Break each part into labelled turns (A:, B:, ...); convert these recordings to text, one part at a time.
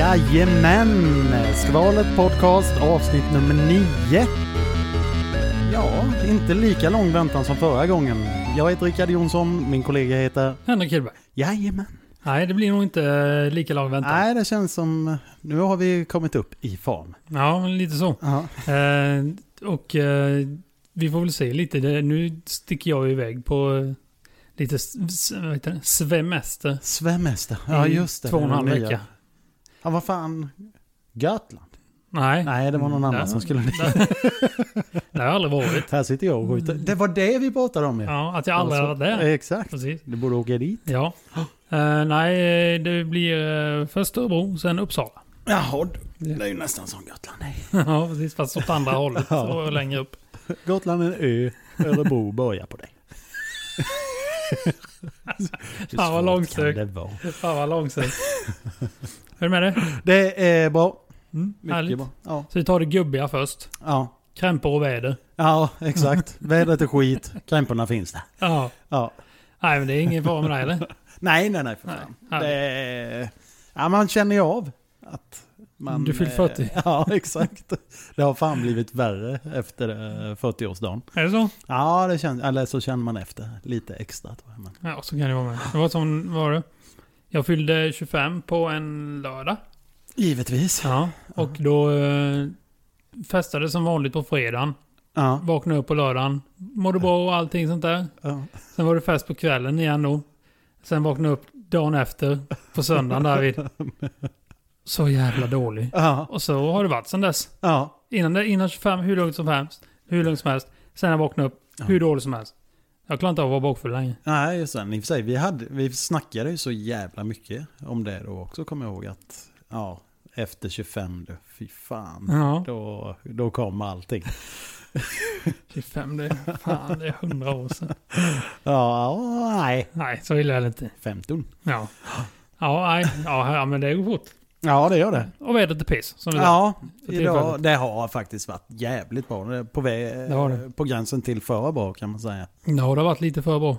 A: Jajamän! Skvalet Podcast avsnitt nummer 9. Ja, inte lika lång väntan som förra gången. Jag heter Rickard Jonsson, min kollega heter...
B: Henrik Hillberg.
A: Jajamän!
B: Nej, det blir nog inte eh, lika lång väntan.
A: Nej, det känns som... Nu har vi kommit upp i form.
B: Ja, men lite så.
A: Ja,
B: Eh, och eh, vi får väl se lite. Det, nu sticker jag iväg på eh, lite s- s- vad heter det? svemester.
A: Svemester. Ja,
B: i
A: just det.
B: Mm. Två och en
A: det är
B: halv
A: det nya.
B: vecka.
A: Ja, vad fan. Götland?
B: Nej,
A: Nej, det var någon annan
B: Nej.
A: som skulle...
B: det har jag aldrig varit.
A: Här sitter jag och skjuter. Det var det vi pratade om ju.
B: Ja, att jag aldrig
A: Alltså,
B: har varit där.
A: Exakt.
B: Precis.
A: Du borde åka dit.
B: Ja. Eh, nej, eh, det blir eh, först Örebro, sen Uppsala.
A: Jaha, du. det är ju nästan som Gotland. Nej.
B: ja, precis. Fast åt andra hållet.
A: Ja.
B: Så längre upp.
A: Gotland är en ö, Örebro börjar på dig. Hur
B: Fan, vad
A: svårt
B: långsökt.
A: kan det vara?
B: Fan vad långsamt. Är du med det? Mm,
A: Det är bra. Mycket
B: Härligt.
A: bra. Ja.
B: Så vi tar det gubbiga först.
A: Ja.
B: Krämpor och väder.
A: ja, exakt. Vädret är skit, krämporna finns där.
B: Ja.
A: Ja.
B: Nej, men det är ingen fara med det eller?
A: Nej, nej, nej för fan.
B: Nej,
A: det är... ja, man känner ju av att man...
B: Du fyllt 40.
A: eh, Ja, exakt. Det har fan blivit värre efter eh, 40-årsdagen.
B: Är det så?
A: Ja, det känns, eller så känner man efter lite extra. Tror jag. Men,
B: Ja, så kan det vara med. Det var som, vad var det? Jag fyllde 25 på en lördag.
A: givetvis.
B: Ja. Och då eh, festade som vanligt på fredagen.
A: Ja.
B: Vaknade upp på lördagen. Mådde bra och allting sånt där.
A: ja.
B: Sen var det fest på kvällen igen då. Sen vaknade jag upp dagen efter på söndagen därvid. Så jävla dålig.
A: Ja,
B: Och så har det varit sedan dess.
A: ja.
B: Innan, det, innan 25, hur lugnt som helst. Hur lugnt som helst. Sen jag vaknade upp,
A: Ja.
B: hur dålig som helst. Jag klarar inte av att vara bakfull längre.
A: Nej, just det. I och för sig, vi, hade, vi snackade ju så jävla mycket om det då också, kommer jag ihåg. Att, ja, efter 25, då, fy fan.
B: Ja.
A: Då, då kom allting.
B: 25, det är, fan, det är 100 år sedan.
A: Ja, åh, nej.
B: Nej, så illa är det inte.
A: 15.
B: Ja. Ja, nej. Ja, ja, men det går fort.
A: Ja, det gör det.
B: Och vädret är piss, som du
A: Ja,
B: För
A: idag,
B: tillfället.
A: det har faktiskt varit jävligt bra. Det är På, väg,
B: Det har det.
A: på gränsen till för bra kan man säga.
B: Ja, det har varit lite för bra.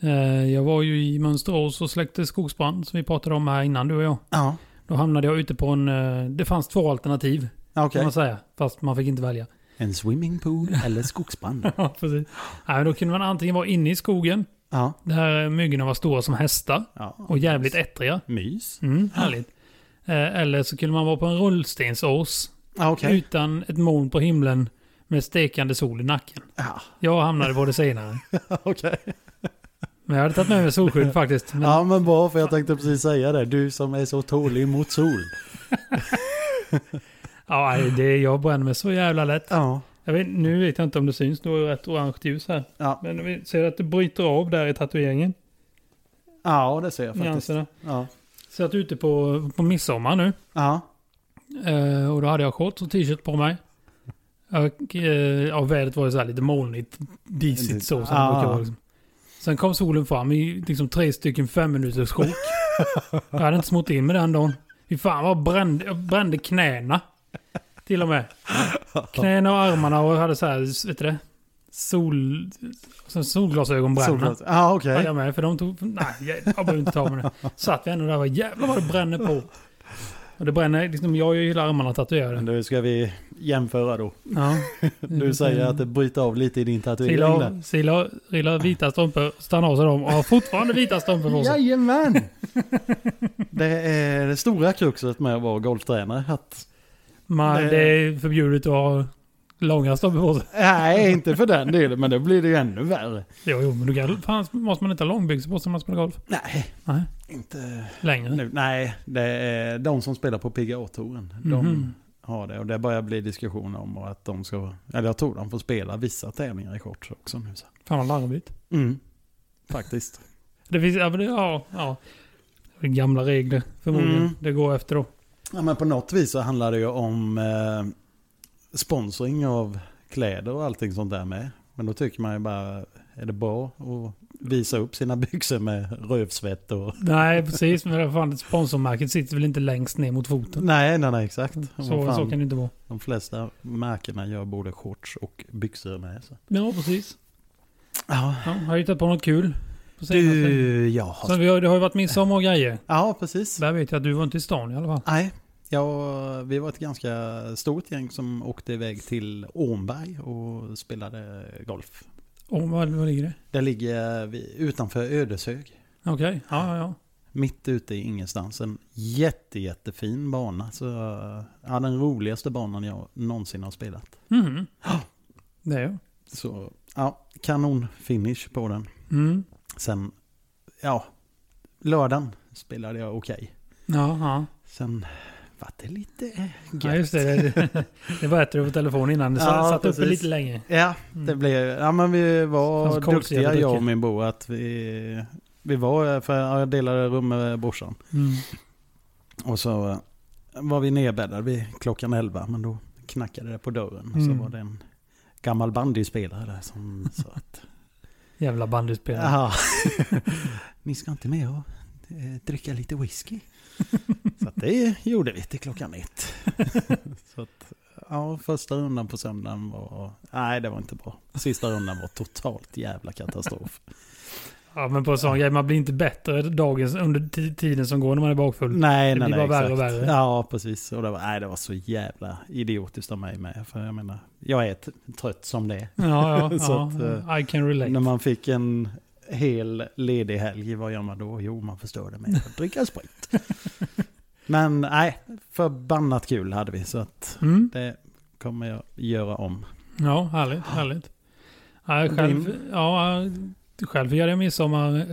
B: Eh, Jag var ju i Mönsterås och släckte skogsbrand, som vi pratade om här innan, du och jag.
A: Ja,
B: Då hamnade jag ute på en... eh, Det fanns två alternativ, kan
A: okej.
B: man säga. Fast man fick inte välja.
A: En swimmingpool eller skogsbrand.
B: Ja, precis. Nej, men då kunde man antingen vara inne i skogen,
A: Ja,
B: där myggorna var stora som hästar
A: ja.
B: och jävligt ettriga.
A: Mys.
B: Mm, härligt. Eh, Eller så kunde man vara på en rullstensås
A: Ja, okej.
B: utan ett moln på himlen med stekande sol i nacken.
A: Ja,
B: Jag hamnade på det senare.
A: okej.
B: Men jag hade tagit med mig solskydd faktiskt. Men,
A: Ja men bra, för jag tänkte precis säga det. Du som är så tålig mot sol.
B: ja, nej, det, jag brände mig så jävla lätt.
A: Ja.
B: Jag vet, nu vet jag inte om det syns, det var ju rätt orange ljus här.
A: Ja,
B: Men vi ser att det bryter av där i tatueringen.
A: ja det ser jag faktiskt.
B: Nyanserna.
A: Ja.
B: Så jag är ute på, på midsommar nu.
A: Ja.
B: Eh, och då hade jag shorts och t-shirt på mig. Och, eh, ja, vädret var ju så här lite molnigt, disigt så som
A: Ah.
B: det brukar vara. Liksom. Sen kom solen fram i liksom tre stycken femminuters sjok. jag hade inte smort in med den dagen. Fy fan vad brände, jag brände knäna. Till och med. Knäna och armarna och jag hade så här, vet du det? Sol... alltså så Solglasögonbränna.
A: Solglas. Ja,
B: Ja,
A: okej.
B: jag med, för de tog... Nej, jag, jag behöver inte ta med det. Satt vi ändå där och var jävlar vad det bränner på. Och det bränner, liksom, jag gillar armarna tatuerade.
A: Nu ska vi jämföra då.
B: Ja.
A: Du säger att det bryter av lite i din tatuering.
B: Sila,
A: där.
B: Mm. av- sila, sila vita strumpor, stanna av sig dem och har fortfarande vita strumpor på sig.
A: Jajamän! Det är det stora kruxet med att vara golftränare. Att,
B: Men det är förbjudet att ha långa strumpor på sig.
A: nej, inte för den delen, men då blir det ju ännu värre.
B: Jo, jo, men du kan, fan, måste man inte ha långbyxor på sig när man spelar golf?
A: Nej,
B: Nej,
A: inte
B: längre.
A: nu. Nej, det är de som spelar på PGA-touren. De
B: Mhm.
A: har det och det börjar bli diskussioner om att de ska, eller jag tror de får spela vissa tävlingar i shorts också nu. Så.
B: Fan vad larvigt.
A: Mm. Faktiskt.
B: Det finns, ja, men det, ja, ja. Det är gamla regler förmodligen.
A: Mm.
B: Det går efter då.
A: Ja, men på något vis så handlar det ju om eh, sponsring av kläder och allting sånt där med. Men då tycker man ju bara, är det bra att visa upp sina byxor med rövsvett och...
B: Nej, precis. Men vad fan, sponsormärket sitter väl inte längst ner mot foten?
A: Nej, nej, nej, exakt. Mm. Vad
B: Så,
A: fan,
B: så kan det inte vara.
A: De flesta märkena gör både shorts och byxor med. Så.
B: Ja, precis.
A: Ja,
B: Ja, har jag hittat på något kul? På senaste?
A: du, jag har...
B: Så vi har, det har ju varit midsommar och grejer.
A: Ja, precis.
B: Där vet jag att du var inte i stan i alla fall.
A: Nej, Ja, vi var ett ganska stort gäng som åkte iväg till Ånberg och spelade golf.
B: Och var, var ligger det?
A: Det ligger vi- utanför Ödeshög.
B: Okej, ja, ja, ja.
A: Mitt ute i ingenstans. En jätte, jättefin bana. Så, ja, den roligaste banan jag någonsin har spelat.
B: Mhm. Det är jag.
A: Så ja, kanon finish på den.
B: Mm.
A: Sen, ja, lördagen spelade jag okej.
B: Ja, ja.
A: Sen var det lite
B: ja,
A: gött.
B: just det. Det, det var bättre på telefon innan. Det
A: Ja,
B: ja, satt uppe
A: precis.
B: lite länge.
A: Ja,
B: Mm.
A: det blev, ja men vi var
B: Fanns kolsyra
A: duktiga
B: drycker.
A: jag och min bo att vi, vi var, för jag delade rum med brorsan.
B: Mm.
A: Och så eh, var vi nedbäddade vid klockan 11, men då knackade det på dörren. Och
B: Mm.
A: så var det en gammal bandyspelare där som sa att,
B: Jävla bandyspelare.
A: jaha, ni ska inte med och eh, dricka lite whisky? Så att det gjorde vi till klockan ett. Så att, ja, första rundan på söndagen var, nej det var inte bra. Sista rundan var totalt jävla katastrof.
B: Ja, men på en sån grej. Man blir inte bättre dagens, under ti- tiden som går när man är bakfull.
A: Nej,
B: Det
A: nej,
B: blir
A: nej.
B: bara värre och
A: exakt.
B: värre.
A: Ja, precis. Och det var, nej, det var så jävla idiotiskt av mig med. För jag menar, jag är t- trött som det är.
B: Ja, ja.
A: Så
B: ja.
A: att, eh,
B: I can relate.
A: När man fick en hel ledig helg, vad gör man då? Jo, man förstör det med att dricka sprit. Men nej, förbannat kul hade vi. Så att
B: Mm.
A: det kommer jag göra om.
B: Ja, härligt. härligt. Ja, jag själv, ja, själv firade jag midsommar eh,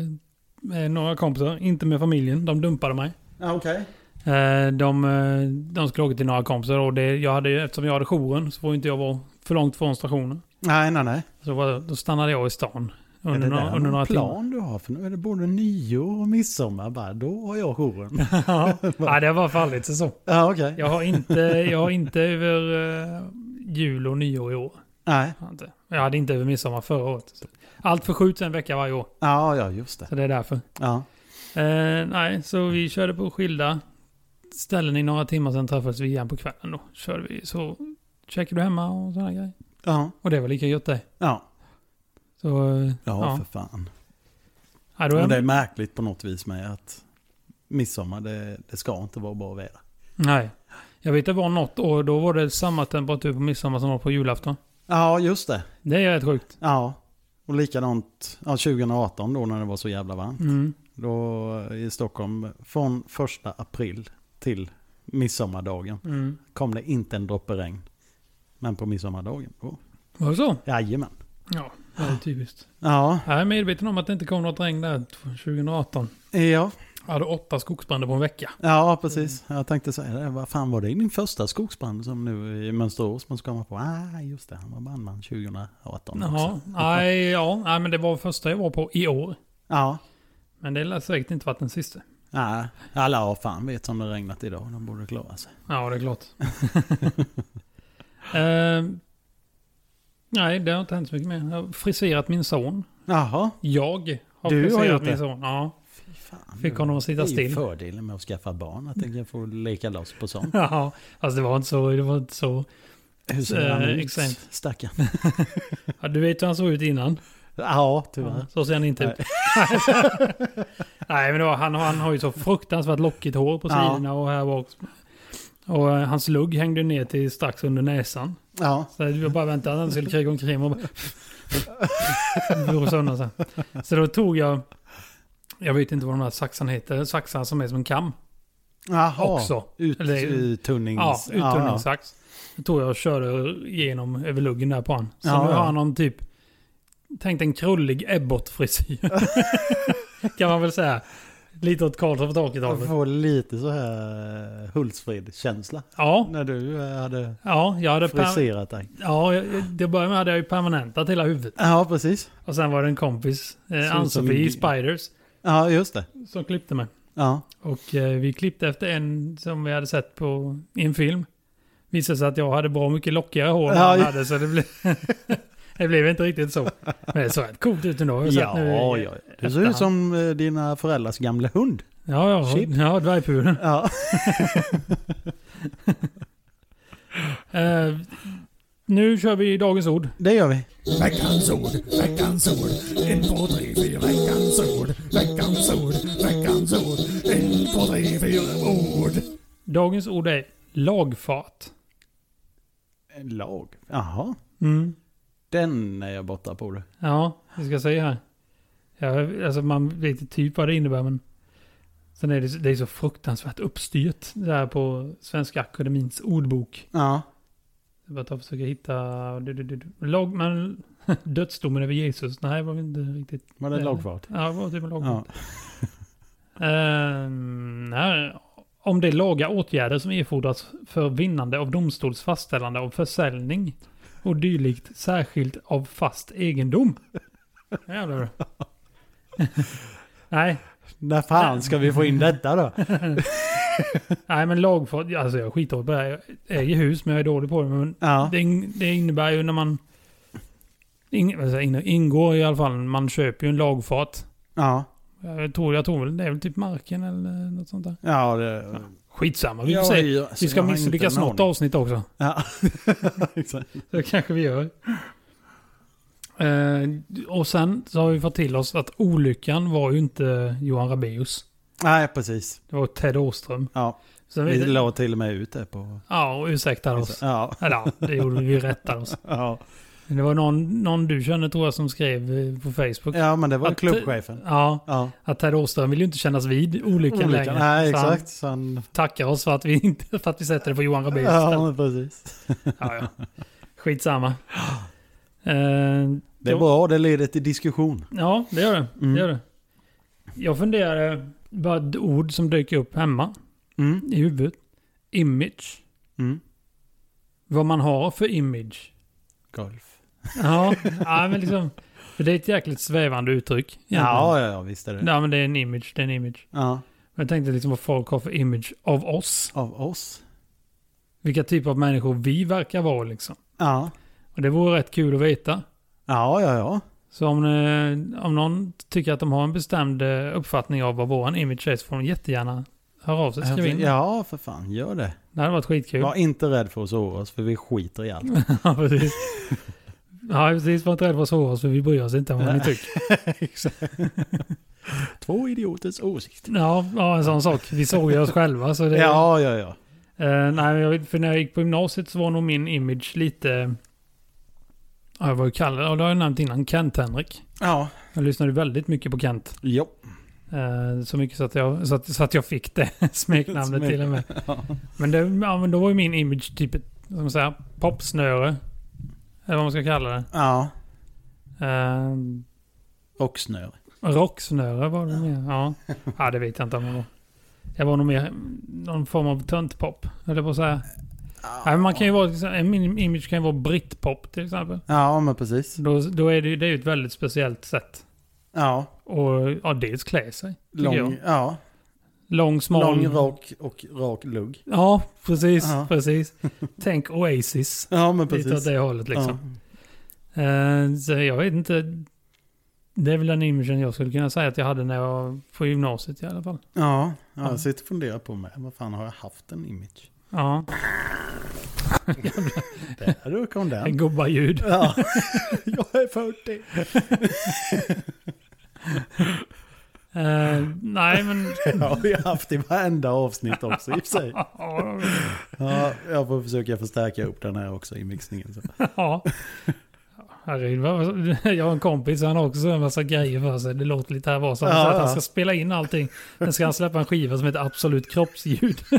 B: med några kompisar, inte med familjen. De dumpade mig.
A: Ja, okej.
B: Eh, De, eh, de skulle åka till några kompisar och det, jag hade, ju- eftersom jag hade jouren så får inte jag vara för långt från stationen.
A: Nej, nej, nej.
B: Så var- då stannade jag i stan
A: Är
B: under
A: det
B: några,
A: där
B: under några
A: någon
B: timmar.
A: plan du har? För nu är det både nyår och midsommar. Bara, då har jag jouren.
B: ja, nej, det var fallit så.
A: ja, okej.
B: Jag har inte, jag har inte över eh, jul och nyår i år.
A: Nej.
B: Jag har inte- Jag hade inte över midsommar förra året. Så Allt förskjuts en vecka varje år,
A: Ja, ja, just det.
B: så det är därför.
A: Ja.
B: Eh, nej, så vi körde på skilda ställen i några timmar, sen träffades vi igen på kvällen då. Körde vi, så checkade du hemma och sådana grejer.
A: Ja.
B: Och det var lika gött det.
A: Ja.
B: Så, eh,
A: Ja,
B: Ja.
A: för fan.
B: ja, då är
A: Och det är märkligt på något vis med att midsommar, det, det ska inte vara bra väder.
B: Nej. Jag vet det var något år, då var det samma temperatur på midsommar som det var på julafton.
A: Ja, just det.
B: Det är rätt sjukt.
A: Ja. Och likadant ja, 2018 då när det var så jävla varmt.
B: Mm.
A: Då i Stockholm, från första april till midsommardagen
B: Mm.
A: kom det inte en droppe regn. Men på midsommardagen, oh.
B: Var det så?
A: jajamän.
B: Ja, det är typiskt.
A: Ja,
B: Jag är medveten om att det inte kom något regn där 2018.
A: ja,
B: Jag hade åtta skogsbränder på en vecka.
A: ja precis. Jag tänkte säga det, vad fan var det i min första skogsbrand som nu i Mönsterås man ska komma på? Ah, just det, han var brandman 2018 också.
B: Jaha. Nej, ja. Nej, men det var första jag var på i år.
A: Ja,
B: Men det lär säkert inte varit den sista.
A: Nej, alla har fan vet som det regnat idag. De borde klara sig.
B: Ja, det är klart. Ehm, nej, det har inte hänt så mycket mer. Jag har friserat min son.
A: Jaha.
B: Jag har
A: Du har
B: friserat
A: gjort
B: min
A: det?
B: son. Ja.
A: Fy fan.
B: Fick honom att
A: Det
B: sitta
A: är ju
B: still.
A: fördelen med att skaffa barn, att den kan få leka loss på sånt.
B: Ja, alltså det var inte så. Det var inte så.
A: Hur ser
B: Eh,
A: han ut?
B: exakt.
A: Stackarn.
B: Ja, du vet hur han såg ut innan.
A: Ja, tyvärr.
B: Så ser han inte ut. Nej, men det var, han, han har ju så fruktansvärt lockigt hår på
A: Ja.
B: sidorna och här bak. Och eh, hans lugg hängde ju ner till strax under näsan.
A: Ja.
B: Så jag bara väntade att han skulle kriga omkring och bara... Vore sönder sig. Så då tog jag... Jag vet inte vad de här saxarna heter. Saxar som är som en kam.
A: Jaha.
B: Också.
A: Ut,
B: Eller-
A: uttunnings...
B: Ja,
A: Ja, ja.
B: uttunningssax. Då tog jag och körde igenom över luggen där på han. Så
A: Ja,
B: nu
A: ja.
B: har han någon typ... Tänk dig en krullig Ebbot-frisyr. kan man väl säga. Lite åt Karlsson på taket
A: Jag
B: hållet.
A: får lite så här eh, Hultsfred-känsla.
B: Ja,
A: När du eh, hade
B: ja, jag hade per-
A: friserat dig.
B: ja, jag- jag- det började med att jag ju permanentat hela huvudet.
A: Ja, precis.
B: Och sen var det en kompis,
A: ut
B: eh,
A: som en
B: Ann-Sofie
A: gud.
B: i Spiders,
A: Ja, just det.
B: som klippte mig.
A: Ja.
B: Och eh, vi klippte efter en som vi hade sett på, i en film. Visade sig att jag hade bra mycket lockigare hår än
A: Ja,
B: han
A: ja.
B: hade, så det blev, det blev inte riktigt så. Men det såg rätt coolt ut ändå. Jag har sett
A: Ja,
B: nu
A: ja,
B: i-
A: ja. Du ser ut som eh, dina föräldrars gamla hund.
B: Ja, ja,
A: Chip.
B: ja dvärgpudeln.
A: Ja.
B: Eh, nu kör vi dagens ord.
A: Det gör vi.
C: Veckans ord, veckans ord, en, två, tre, fyra, veckans ord, veckans ord, veckans ord, en, två, tre, fyra, ord.
B: Dagens ord är lagfart.
A: En lag? Jaha.
B: Mm.
A: Den är jag borta på. du.
B: Ja, det ska jag säga här. Ja, alltså man vet ju typ vad det innebär men... Sen är det, så- det är så fruktansvärt uppstyrt där på Svenska Akademins ordbok.
A: Ja.
B: Jag bara tar och försöker hitta... Du, du, du, du. Lag, men, dödsdomen över Jesus. Nej, det var väl inte riktigt...
A: Var det lagfart?
B: Ja, det var typ en lag.
A: Ja.
B: Ehm, nej. Om det är laga åtgärder som erfordras för vinnande av domstols fastställande av försäljning och dylikt särskilt av fast egendom. Jävlar du. nej,
A: När fan ska vi få in detta då?
B: nej men lagfart. Alltså jag är skitdålig på det här. Jag äger hus men jag är dålig på det. Men
A: Ja.
B: det, in, det innebär ju när man... In, vad säger jag, ingår i alla fall. Man köper ju en lagfart.
A: Ja.
B: Jag tror, jag tror väl det är väl typ marken eller något sånt där.
A: Ja, det...
B: Skitsamma, vi får
A: Jag
B: se.
A: är ju- så
B: Vi ska
A: jag har inte
B: misslyckas
A: en
B: något
A: aning.
B: avsnitt också.
A: Ja. Exakt.
B: Så det kanske vi gör. Eh, och sen så har vi fått till oss att olyckan var ju inte Johan Rabaeus.
A: Nej, precis.
B: Det var Ted Åström.
A: Ja.
B: Sen
A: Vi
B: vi,
A: la till och med ut det på...
B: ja, och ursäktade oss.
A: Ja.
B: Eller ja, det gjorde vi. Vi rättade oss.
A: Ja.
B: Men det var någon, någon du kände tror jag som skrev eh, på Facebook.
A: ja, men det var
B: Att-
A: klubbchefen.
B: Ja,
A: Ja.
B: att Ted Åström vill ju inte kännas vid olyckan längre.
A: Nej,
B: Så han
A: exakt. Så han...
B: tackar oss för att vi, inte, för att vi sätter det på Johan Rabaeus istället.
A: Ja, men precis.
B: Ja, ja. Skitsamma. Eh,
A: Det är bra, det leder till diskussion.
B: ja, det gör det.
A: Mm.
B: det, gör det. Jag funderar bara ett ord som dyker upp hemma
A: Mm.
B: i huvudet. Image.
A: Mm.
B: Vad man har för image.
A: Golf.
B: Ja, ja men liksom. För det är ett jäkligt svävande uttryck. egentligen.
A: Ja, ja, ja, visst är det.
B: ja, men det är en image. Det är en image.
A: Ja.
B: Men Jag tänkte liksom vad folk har för image av oss.
A: Av oss.
B: Vilka typer av människor vi verkar vara liksom.
A: Ja.
B: Och det vore rätt kul att veta.
A: Ja, ja, ja.
B: Så om, eh, om någon tycker att de har en bestämd eh, uppfattning av vad våran image är så får de jättegärna höra av sig. Skriv in.
A: Ja, för fan. Gör det.
B: Det hade varit skitkul.
A: Var inte rädd för att såra oss, för vi skiter i allt.
B: Ja, precis. Ja, precis. Var inte rädd för att såra oss för vi bryr oss inte om vad ni tycker.
A: Två idioters åsikt.
B: Ja, ja, en sån sak. Vi såg ju oss själva. Så det,
A: Ja, ja, ja.
B: eh, nej, jag vet- för när jag gick på gymnasiet så var nog min image lite... Ja, jag var ju kallad. Och det har jag nämnt innan. Kent-Henrik.
A: Ja.
B: Jag lyssnade väldigt mycket på Kent.
A: Jo.
B: Eh, Så mycket så att jag, så att, så att jag fick det smeknamnet
A: Smek-
B: till och med. Men, det, ja, men då var ju min image typ ett vad ska man säga, popsnöre. Eller vad man ska kalla det.
A: Ja.
B: Eh,
A: Och snö.
B: rocksnöre var det mer. Ja. ja, det vet jag inte om jag var. Jag var nog mer någon form av töntpop. Eller på att säga. Nej, men man kan ju vara, en min image kan ju vara brittpop till exempel.
A: Ja, men precis.
B: Då, då är det, ju- det är ju ett väldigt speciellt sätt.
A: Ja.
B: Och ja, dels klä sig. tycker
A: Lång,
B: jag.
A: ja.
B: Lång, smal.
A: Lång rak och rak lugg.
B: Ja, precis.
A: Ja.
B: precis. Tänk Oasis.
A: Ja, men
B: Lite åt
A: precis.
B: det hållet liksom. Eh, så jag vet inte. Det är väl den imagen jag skulle kunna säga att jag hade när jag var på gymnasiet i alla fall.
A: Ja. ja,
B: Ja.
A: jag sitter och funderar på mig. Vad fan har jag haft en image?
B: Ja,
A: Där du kom den.
B: gubbaljud.
A: Ja. jag är 40.
B: Eh, nej, men...
A: Det har vi haft i varenda avsnitt också i och för sig. Ja, jag får försöka förstärka upp den här också i mixningen. Så.
B: ja. Herregud, vad- jag har en kompis, han har också en massa grejer för sig. Det låter lite här var så. Han
A: Ja,
B: säger att
A: ja.
B: han ska spela in allting. Sen ska han släppa en skiva som heter Absolut Kroppsljud.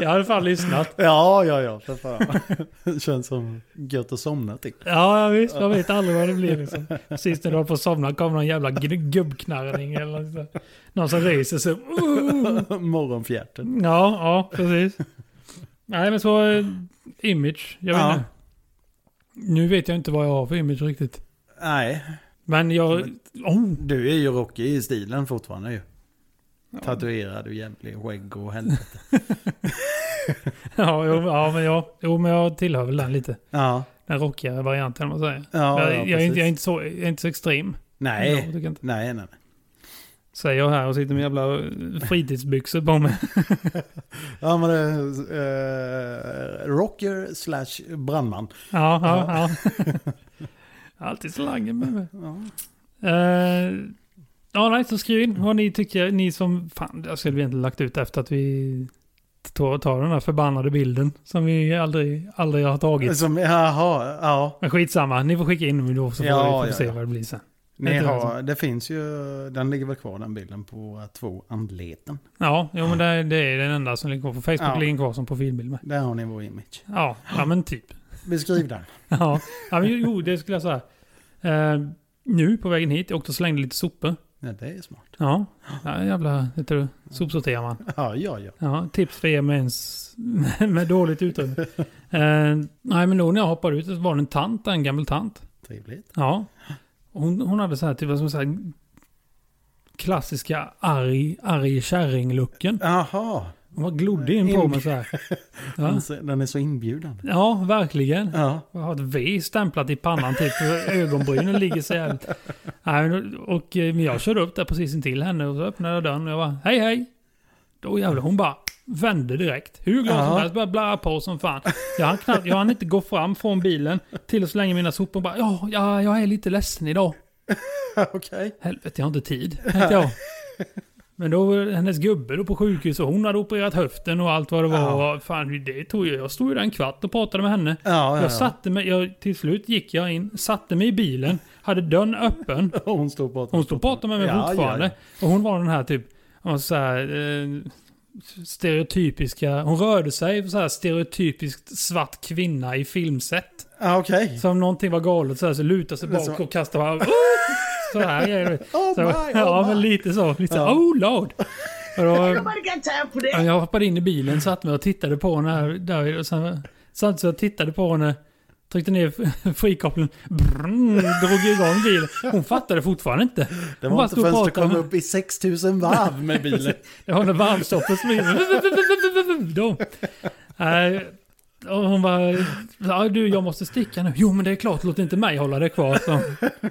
B: jag har i alla fall lyssnat.
A: Ja, ja, ja, för fan. Det känns som gött att somna typ. till.
B: Ja, ja, visst. Man vet aldrig vad det blir. Liksom. Precis när du håller på att somna kommer någon jävla gr- gubbknarrning eller något sånt. Någon som reser sig. Uh.
A: Morgonfjärten.
B: Ja, ja, precis. Nej, men så eh, image. Jag vet
A: Ja.
B: inte. Nu vet jag inte vad jag har för image riktigt.
A: Nej,
B: Men jag... Oh,
A: du är ju rockig i stilen fortfarande ju. Tatuerad och jävlig skägg och helvete.
B: ja, jo, ja, men jag, jo, men jag tillhör väl den lite.
A: Ja,
B: Den rockigare varianten, om man säger.
A: ja, ja
B: jag, jag, är
A: precis.
B: inte, jag, är inte så, jag är inte så extrem. Jag
A: Nej,
B: tycker inte.
A: nej, nej. nej.
B: Säger jag här och sitter med jävla eh, fritidsbyxor på mig.
A: Ja, men det är, eh, rocker slash brandman.
B: Ja, ja, ja. Alltid slangen med mig.
A: Ja.
B: Eh, Ja, Ja, nej, så skriv in vad ni tycker. Ni som... Fan, jag skulle vi egentligen lagt ut efter att vi tar, tar den här förbannade bilden som vi aldrig, aldrig har tagit.
A: Som, jaha, ja.
B: Men skitsamma, ni får skicka in dem då så får
A: Ja,
B: vi, får vi
A: ja,
B: se
A: ja.
B: vad det blir sen.
A: Ni
B: Inte
A: har, det finns ju, den ligger väl kvar den bilden på våra två anleten.
B: Ja, jo, men det, det är den enda som ligger kvar. På Facebook
A: Ja.
B: ligger den kvar som profilbild med.
A: Där har ni vår image.
B: Ja, ja men typ.
A: Beskriv den.
B: Ja, ja men, jo, det skulle jag säga. Eh, nu på vägen hit, jag åkte och slängde lite sopor.
A: Ja, det är smart.
B: Ja, ja jävla, vet du, sopsorterar man.
A: Ja, ja, ja.
B: Ja, tips för er med, ens, med dåligt utrymme. Eh, nej, men då när jag hoppade ut så var det en tant, en gammal tant.
A: Trevligt.
B: Ja. Hon, hon hade så här, typ, vad ska man säga, klassiska arg, arg kärring-looken.
A: Jaha,
B: Hon var glodde in på mig så här. Ja,
A: den ser- den är så inbjudande.
B: ja verkligen.
A: Ja,
B: Jag har ett V stämplat i pannan typ. för Ögonbrynen ligger så jävligt. Nej, men- Och eh, men jag körde upp där precis intill henne och så öppnade jag dörren och jag bara hej hej. Då jävlar hon bara vände direkt. Hur glad som
A: Ja.
B: helst. Började blära på som fan. Jag hann, knappt, jag hann inte gå fram från bilen till att slänga mina sopor. och Bara, ja, ja, jag är lite ledsen idag.
A: okej.
B: Helvete, jag har inte tid. Tänkte jag. Men då var hennes gubbe då på sjukhus och hon hade opererat höften och allt vad det var. Och Fan, det tog ju, jag stod ju där en kvart och pratade med henne.
A: Ja, ja, ja.
B: Jag satte mig, jag, till slut gick jag in, satte mig i bilen, hade dörren öppen.
A: Och Hon står på
B: Hon stod och pratade med mig
A: Ja,
B: fortfarande.
A: ja,
B: Och hon var den här typ, om man så här, eh, stereotypiska, hon rörde sig på så här stereotypiskt svart kvinna i filmset.
A: Ja, okej.
B: Så om någonting var galet så, här, så lutade sig
A: Men så-
B: bak och kastade bara, "Oh!" så här grejer.
A: Oh
B: Så,
A: my, oh
B: ja, men
A: my.
B: lite så. Lite så,
A: Ja.
B: oh lord. Och då,
D: Nobody got time for that.
B: Ja, Jag hoppade in i bilen, satt mig och tittade på henne. Här, där, och sen, samtidigt som jag tittade på henne, tryckte ner frikopplingen, brrrn, drog igång bilen. Hon fattade fortfarande inte.
A: Det
B: Hon
A: var
B: bara
A: inte
B: stod och
A: förrän du
B: pratade
A: kom
B: med-
A: upp i 6000 varv med bilen.
B: Jag har en varmstoppet som är... Då. Nej, och hon bara, "Ja, du jag måste sticka nu. Jo men det är klart, låt inte mig hålla det kvar. Så,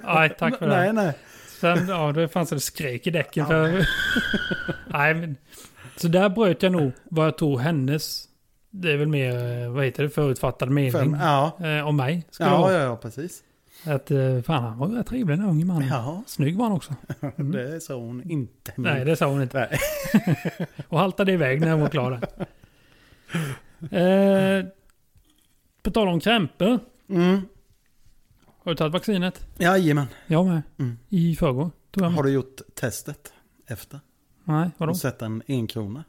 B: nej tack för det.
A: nej, nej.
B: Sen, ja, det fanns det skrek i däcken. För... Nej, men... Så där bröt jag nog vad jag tror hennes, det är väl mer, eh, vad heter det, förutfattad mening
A: Fem, ja.
B: eh, om mig. Skulle
A: Ja,
B: vara.
A: ja, ja, precis.
B: Att eh, fan, han var rätt trevlig den här unge mannen.
A: Ja, Mm.
B: Snygg var han också.
A: det sa hon inte. men-
B: Mm. Nej, det sa hon inte.
A: Nej.
B: Och haltade iväg när hon var klar där. Eh, på tal om krämpor.
A: Mm.
B: Har du tagit vaccinet?
A: Jajamän.
B: Jag med.
A: Mm.
B: I förrgår. Tog jag med.
A: Har du gjort testet efter?
B: Nej,
A: Har
B: Mm. vadå?
A: du sett en enkrona?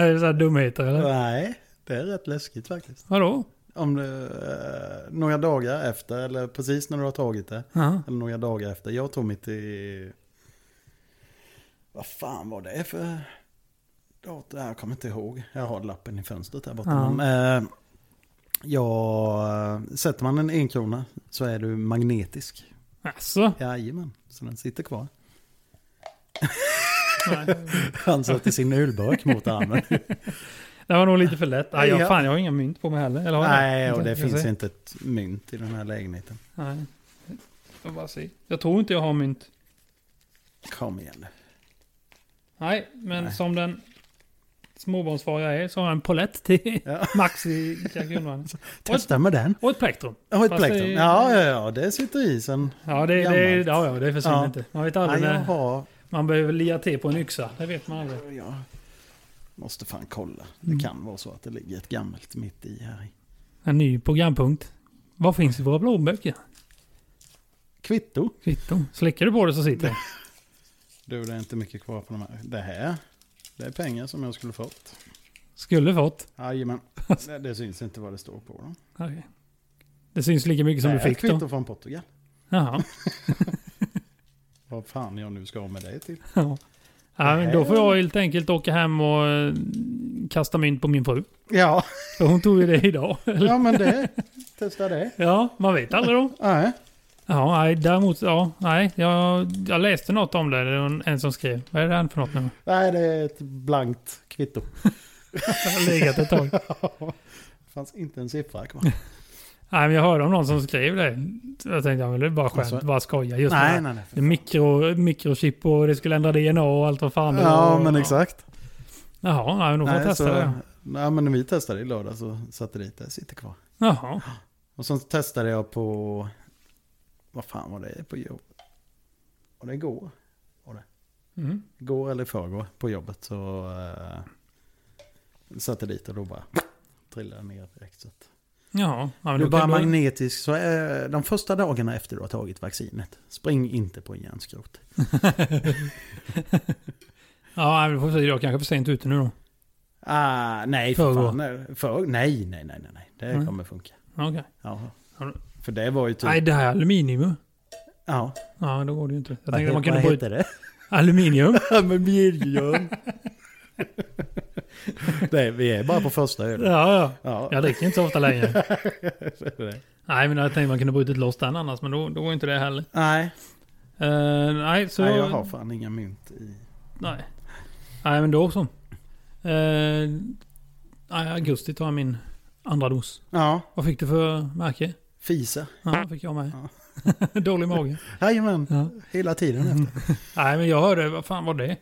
B: är det så här dumheter eller?
A: Nej, det är rätt läskigt faktiskt.
B: Vadå?
A: Om du, eh, några dagar efter, eller precis när du har tagit det,
B: Ja.
A: eller några dagar efter. Jag tog mitt i... Vad fan var det för dator? Jag kommer inte ihåg. Jag har lappen i fönstret här borta.
B: Ja.
A: Men, eh, ja, sätter man en enkrona så är du magnetisk.
B: Alltså.
A: Jajamän, så den sitter kvar.
B: Nej.
A: Han sätter sin ölburk mot armen.
B: Det var nog lite för lätt. Nej, jag,
A: Ja.
B: fan, jag har inga mynt på mig heller. Eller har jag?
A: Nej, och
B: Inte,
A: det
B: ska jag
A: finns
B: se.
A: inte ett mynt i den här lägenheten.
B: Nej. Jag, bara se. jag tror inte jag har mynt.
A: Kom igen nu.
B: Nej, men
A: Nej.
B: som den småbarnsfar jag är så har jag en polett till
A: Ja.
B: Max i Jack
A: Testa med den.
B: Och ett plektrum.
A: Och ett
B: Fast det är-
A: plektrum. Ja, ja, ja, det sitter i sen.
B: Ja, det, det,
A: Gammalt.
B: ja, ja, det försvinner
A: Ja.
B: inte. Man vet
A: Nej,
B: aldrig
A: jag
B: när
A: har...
B: man behöver lia till på en yxa. Det vet man aldrig.
A: Jag måste fan kolla.
B: Mm.
A: Det kan vara så att det ligger ett gammalt mitt i här. i.
B: En ny programpunkt. Vad finns i våra blåböcker?
A: Kvitto.
B: Kvitton. Slickar du på det så sitter det.
A: Du, det är inte mycket kvar på de här. Det här, det är pengar som jag skulle fått.
B: Skulle fått.
A: Jajamän. Det, det syns inte vad det står på dem.
B: Okej. Det syns lika mycket som
A: det
B: du
A: är
B: fick
A: kvitto
B: då.
A: från Portugal.
B: Jaha.
A: Vad fan jag nu ska ha med det till.
B: Ja. Ja, men då får jag helt enkelt åka hem och eh, kasta mynt på min fru.
A: Ja,
B: För Hon tog ju det idag. eller?
A: ja men det. Testa det.
B: Ja, man vet aldrig då.
A: Nej.
B: Ja, nej, däremot, ja, nej, jag, jag läste något om det. Det var en- en som skrev. Vad är det här för något nu?
A: Nej, det är ett blankt kvitto.
B: Jag har legat ett tag.
A: Det fanns inte en siffra kvar.
B: Nej, men jag hörde om någon som skrev det. Jag tänkte, ja, men det är bara skämt,
A: Alltså-
B: bara skoja. Just
A: nej,
B: nej,
A: nej, nej.
B: Det är mikro, mikrochip och det skulle ändra DNA och allt vad fan det
A: Ja,
B: var.
A: men exakt.
B: Jaha, nej, men då får jag
A: Nej,
B: testa
A: så,
B: det.
A: nej, men när vi testade i lördag så satte det dit, det sitter kvar.
B: Jaha,
A: Och sen testade jag på, vad fan var det på jobb? Var det igår?
B: Mm.
A: Går eller i förrgår på jobbet så eh, satte dit och då bara trillade ner direkt. Så att.
B: Jaha. Ja,
A: Du
B: men då
A: är bara
B: kan du-
A: magnetisk. Så eh, de första dagarna efter du har tagit vaccinet, spring inte på järnskrot.
B: Ja, vi får se. Jag kanske är för sent ute nu då.
A: Ah, nej, för
B: Förrgår.
A: fan. Nej, För, nej, nej, nej, nej, nej. Det
B: Nej.
A: kommer funka.
B: Ja, Okej.
A: Ja.
B: Har du-
A: För det var ju typ...
B: Nej, det här är aluminium ju.
A: ja,
B: Ja, då går det ju inte. Jag
A: vad,
B: tänkte att man
A: he-
B: kunde
A: vad
B: bryta
A: heter det?
B: aluminium.
A: Aluminium. nej, vi är bara på första ölen.
B: Ja, ja.
A: Ja.
B: Jag dricker inte så ofta längre. Nej, men jag tänkte man kunde brutit loss den annars, men då, då var inte det heller.
A: Nej,
B: Eh, nej, så...
A: nej, jag har fan inga mynt i...
B: nej. Nej, men då så. Eh, nej, augusti tar jag min andra dos.
A: Ja,
B: Vad fick du för märke?
A: fisa.
B: Ja, fick jag med. Dålig mage.
A: Jajamän,
B: Ja.
A: hela tiden efter.
B: Nej, men jag hörde, vad fan var det?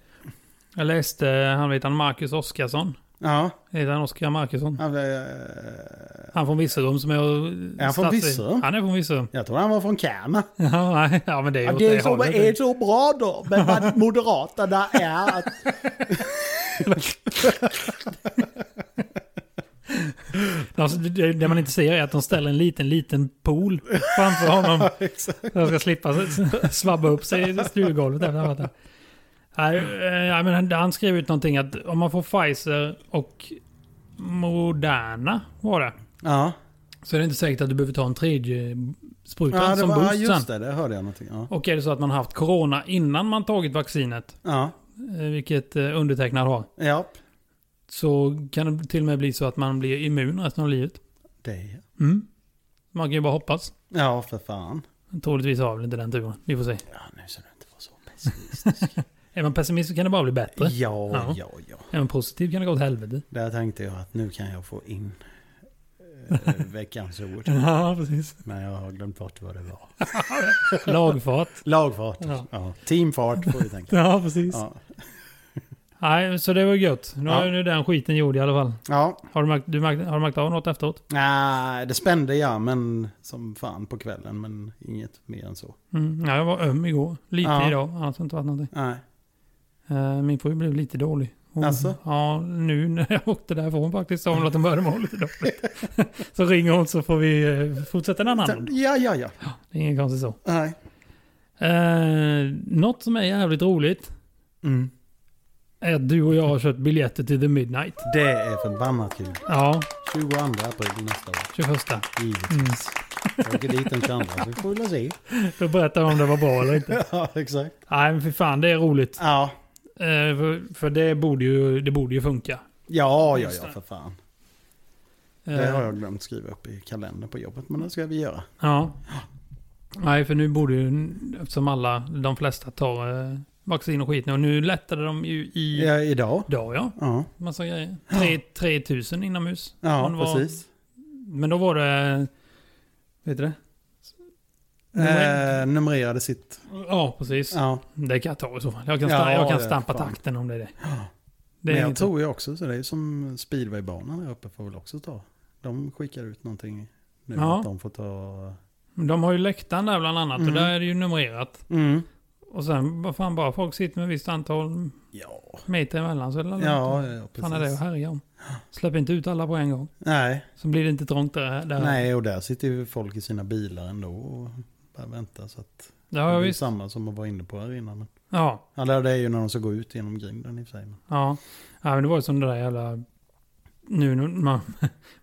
B: Jag läste, han vet han Marcus Oskarsson.
A: Ja,
B: Heter han Oskar Markusson?
A: han, eh,
B: Han från Virserum som jag...
A: Är han från
B: stads-
A: Virserum?
B: Han är från Virserum.
A: jag tror han var från Kärna.
B: Ja, nej, ja, men det är ju
A: Ja,
B: åt
A: det som
B: hållet.
A: är så bra då med vad Moderaterna är att...
B: Alltså, det, det man inte ser är att de ställer en liten, liten pool framför honom. Så han ska slippa s- s- svabba upp sig i stugolvet efter han varit där. Nej, eh, nej, men han- han skrev ut någonting att om man får Pfizer och Moderna var det.
A: Ja,
B: Så är det inte säkert att du behöver ta en tredje spruta
A: ja det
B: som
A: var, ja,
B: boost
A: just
B: sen.
A: det. Det hörde jag någonting. Ja.
B: Och är det så att man har haft corona innan man tagit vaccinet,
A: Ja,
B: eh, vilket eh, undertecknad har,
A: ja.
B: så kan det till och med bli så att man blir immun resten av livet.
A: Det.
B: Mm. Man kan ju bara hoppas.
A: Ja, för fan.
B: Troligtvis har väl inte den turen. Vi får se.
A: Ja, nu ska du inte vara så pessimistisk.
B: Är man pessimist så kan det bara bli bättre.
A: ja, ja, ja.
B: Är man positiv kan det gå åt helvete.
A: Där tänkte jag att nu kan jag få in eh, veckans ord.
B: Ja, precis.
A: Men jag har glömt bort vad det var.
B: Lagfart.
A: Lagfart.
B: Ja.
A: Ja. Teamfart får vi tänka.
B: Ja, precis.
A: Ja,
B: Nej, så det var gött. Nu
A: Ja.
B: är nu den skiten gjord i alla fall.
A: ja.
B: Har du märkt, du märkt, har du märkt av något efteråt?
A: Nej, det spände jag men som fan på kvällen. Men inget mer än så.
B: Mm. Ja, jag var öm igår. Lite
A: Ja.
B: idag. Annars har det inte varit någonting.
A: Nej.
B: Eh, Min fru blev lite dålig. Hon,
A: Alltså?
B: Ja, nu när jag åkte därifrån faktiskt sa hon att hon började må lite dåligt. så ringer hon så får vi eh, fortsätta en annan dag.
A: Ja, ja, ja.
B: Det är inget konstigt så.
A: Nej.
B: Eh, något som är jävligt roligt
A: Mm.
B: är att du och jag har köpt biljetter till The Midnight.
A: Det är förbannat kul.
B: Ja,
A: 22 april nästa år.
B: 21.
A: Givetvis.
B: Mm.
A: Jag åker dit den 22 så vi får väl se.
B: Då berättar jag om det var bra eller inte.
A: Ja, exakt.
B: Nej, men för fan det är roligt.
A: Ja,
B: Eh, för för det, borde ju, det borde ju funka.
A: ja, ja,
B: Just
A: ja
B: det.
A: för fan.
B: Eh,
A: Det har jag glömt skriva upp i kalendern på jobbet, men det ska vi göra.
B: Ja. Nej, för nu borde ju, eftersom alla, de flesta tar eh, vaccin och skit nu. Och nu lättade de ju i
A: Ja, idag?
B: dag, ja.
A: Ja,
B: Massa grejer. Tre- 3000 inomhus.
A: ja
B: Hon var-
A: precis.
B: Men då var det... Vet du det?
A: Eh, numrerade sitt...
B: Ja, precis.
A: Ja,
B: Det kan jag ta i så fall. Jag kan,
A: Ja,
B: sta- jag kan
A: det-
B: stampa
A: fan.
B: takten om det är det. Det
A: men
B: är
A: jag
B: inget-
A: tror jag också, så det är ju som speedwaybanan här uppe får väl också ta. De skickar ut någonting nu,
B: Ja.
A: att de får ta...
B: De har ju läktaren där bland annat
A: Mm.
B: och där är det ju numrerat.
A: Mm.
B: Och sen vad fan bara folk sitter med ett visst antal
A: Ja,
B: meter emellan så är det lugnt.
A: ja, ja
B: fan är det att
A: precis.
B: härja om. Släpp inte ut alla på en gång.
A: Nej,
B: Så blir det inte trångt där. där.
A: nej, och där sitter ju folk i sina bilar ändå och bara väntar. Så att
B: Ja,
A: det är ju
B: visst.
A: samma som man var inne på här innan.
B: Ja.
A: Eller det är ju när de ska gå ut genom grinden i och för sig. men-
B: Ja. ja, men det var ju som det där jävla... Nu när man,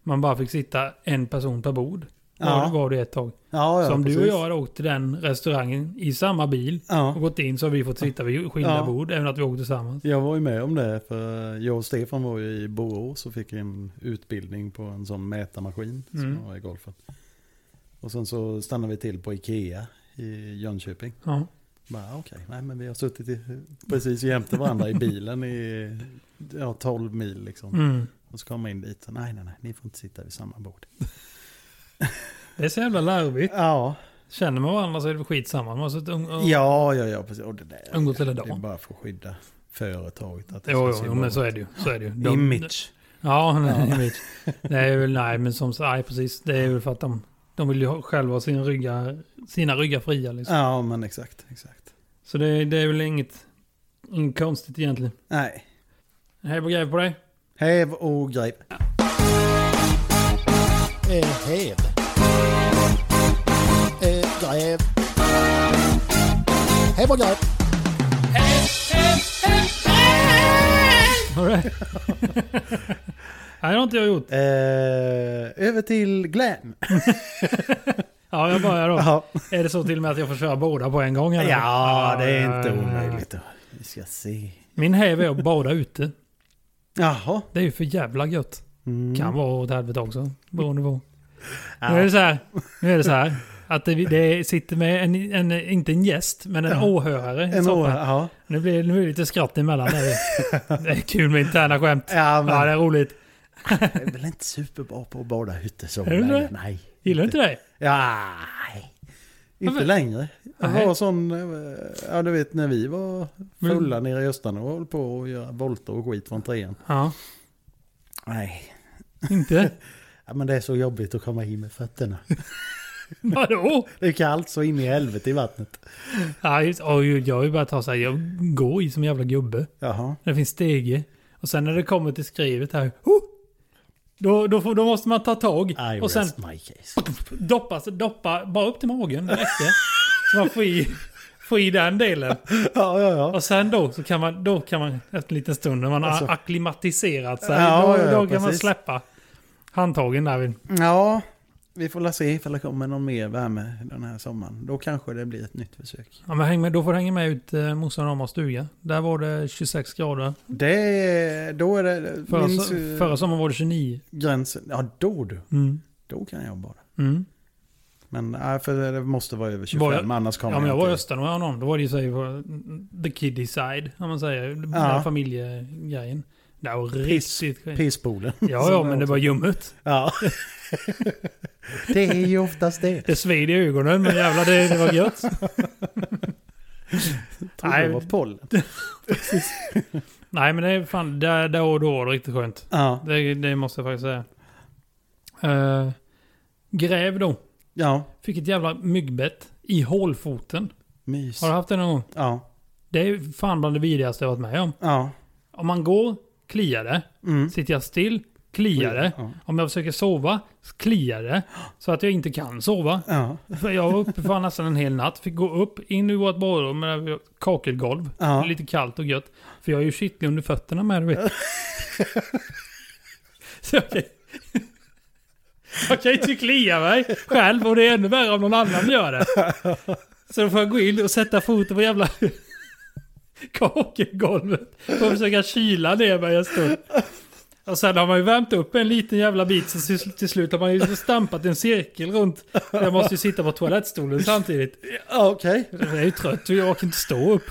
B: man bara fick sitta en person per bord. Ja. Det
A: Ja,
B: var det ett tag.
A: ja, ja
B: så om du och
A: precis.
B: jag hade åkt till den restaurangen i samma bil och
A: Ja,
B: gått in så har vi fått sitta vid skilda
A: Ja.
B: bord även att vi åkte tillsammans.
A: jag var ju med om det. För jag och Stefan var ju i Borås och fick en utbildning på en sån mätarmaskin
B: Mm.
A: som var i golfen. Och sen så stannade vi till på Ikea i Jönköping.
B: Ja.
A: Bara, "Ah, okej, nej men vi har suttit i, precis jämte varandra i bilen i ja, 12 mil liksom.
B: Mm.
A: Och så kom jag in dit, så, nej nej nej, ni får inte sitta vid samma bord.
B: Det är så jävla larvigt.
A: Ja,
B: Känner man varandra så är det väl skitsamma. Man har suttit och- och-
A: ja, ja, ja precis. Och det där,
B: umgåtts hela
A: det är
B: dagen.
A: bara för att skydda företaget. Att det
B: Jo,
A: ska se
B: jo, jo,
A: bra
B: men så
A: ut.
B: är det ju. Så är det ju. De-
A: Image.
B: Ja,
A: Ja.
B: image. Det är väl, nej, men som sagt, nej, precis. Det är väl för att de, de vill ju ha- själva ha sin rygga, sina ryggar fria liksom.
A: Ja, men exakt. exakt.
B: Så det, det är väl inget Inget konstigt egentligen.
A: Nej.
B: Hej på grejer på dig.
A: Häv och oh, grip.
C: Eh, häv. Eh, gräv. Häv och gräv.
B: All right. Nej, det har inte jag gjort.
A: Eh, över till glam.
B: Ja, jag börjar då.
A: Ja.
B: Är det så till och med att jag får köra båda på en gång? Eller?
A: ja, det är
B: ja,
A: inte
B: ja, ja.
A: omöjligt. då. Vi ska se.
B: Min häv är att bada ute.
A: Jaha.
B: Det är ju för jävla gött.
A: Mm.
B: Kan vara åt helvete också. Beroende på. Nu är det så här. Nu är det så här. Att det, det sitter med en, en, inte en gäst, men en
A: Ja.
B: åhörare. i
A: En
B: soffan.
A: år, ja.
B: Nu blir nu är det lite skratt emellan. där. Det är kul med interna skämt.
A: Ja, men
B: Ja, det
A: jag
B: är roligt.
A: är väl inte superbra på att bada ute så
B: Är du
A: länge.
B: det?
A: Nej.
B: Gillar du inte det?
A: Ja, nej. Inte
B: Varför?
A: längre. Jag
B: Nej.
A: har sån, eh, ja du vet när vi var fulla nere i Östarna och höll på att göra volter och skit från trean.
B: Ja,
A: Nej.
B: inte?
A: Ja, men det är så jobbigt att komma in med fötterna.
B: Vadå?
A: Det är kallt så in i helvete i vattnet.
B: Ja, just, oj, jag har ju börjat ta så här, jag går i som en jävla gubbe.
A: Jaha.
B: Det finns stege. Och sen när det kommer till skrivet här, oh, då, då, får, då måste man ta tag.
A: I
B: och sen
A: rest my case.
B: doppa, doppa bara upp till magen. Det räcker. så man får i, får i den delen.
A: Ja, ja, ja.
B: Och sen då, så kan man, då kan man efter en liten stund när man har
A: Alltså.
B: akklimatiserat sig,
A: Ja,
B: då,
A: ja, ja,
B: då kan man
A: precis.
B: släppa handtagen där. vid-
A: Ja, vi får la se ifall det kommer någon mer värme den här sommaren. Då kanske det blir ett nytt försök.
B: Ja, men häng med, då får du hänga med ut eh, morsan och mammas stuga. Där var det 26 grader.
A: Det, då är det...
B: Förra,
A: min
B: so-
A: eh,
B: förra sommaren var det 29.
A: gränsen. Ja, då du.
B: Mm.
A: Då kan jag bara.
B: Mm.
A: Men nej, för det måste vara över 25,
B: Var jag-
A: annars kommer
B: Ja, men jag var i
A: inte.
B: Östern med honom. Då var det ju så här, eh, the kiddie side, om man säger. Den
A: Ja.
B: här familjegrejen. Det var riktigt skit.
A: Pisspoolen.
B: Ja, ja,
A: Som
B: men
A: jag
B: det
A: också-
B: var ljummet.
A: Ja. det är ju oftast det.
B: Det sved i ögonen, men jävlar det, det var gött.
A: Tror
B: Nej.
A: det var pollen.
B: Nej, men det är fan, där, där och då var det riktigt skönt.
A: Ja.
B: Det, det måste jag faktiskt säga. Eh, gräv då.
A: ja,
B: Fick ett jävla myggbett i hålfoten.
A: mys.
B: Har du haft det någon gång?
A: Ja,
B: Det är fan bland det vidrigaste jag varit med om.
A: ja.
B: Om man går, kliar det.
A: Mm.
B: Sitter jag still, kliar det.
A: Ja.
B: Om jag försöker sova, kliar det. Så att jag inte kan sova.
A: Ja,
B: För jag var uppe fan nästan en hel natt. Fick gå upp, in i vårt badrum med det här kakelgolv.
A: Ja.
B: Lite kallt och gött. För jag är ju kittlig under fötterna med, du vet. Så jag kan, jag kan ju inte klia mig själv och det är ännu värre om någon annan gör det. Så då får jag gå in och sätta foten på jävla kakelgolvet. För att försöka kyla ner mig en stund. Och sen har man ju värmt upp en liten jävla bit så till, till slut har man ju stampat en cirkel runt. Jag måste ju sitta på toalettstolen samtidigt.
A: okej.
B: Jag är ju trött och jag orkar inte stå upp.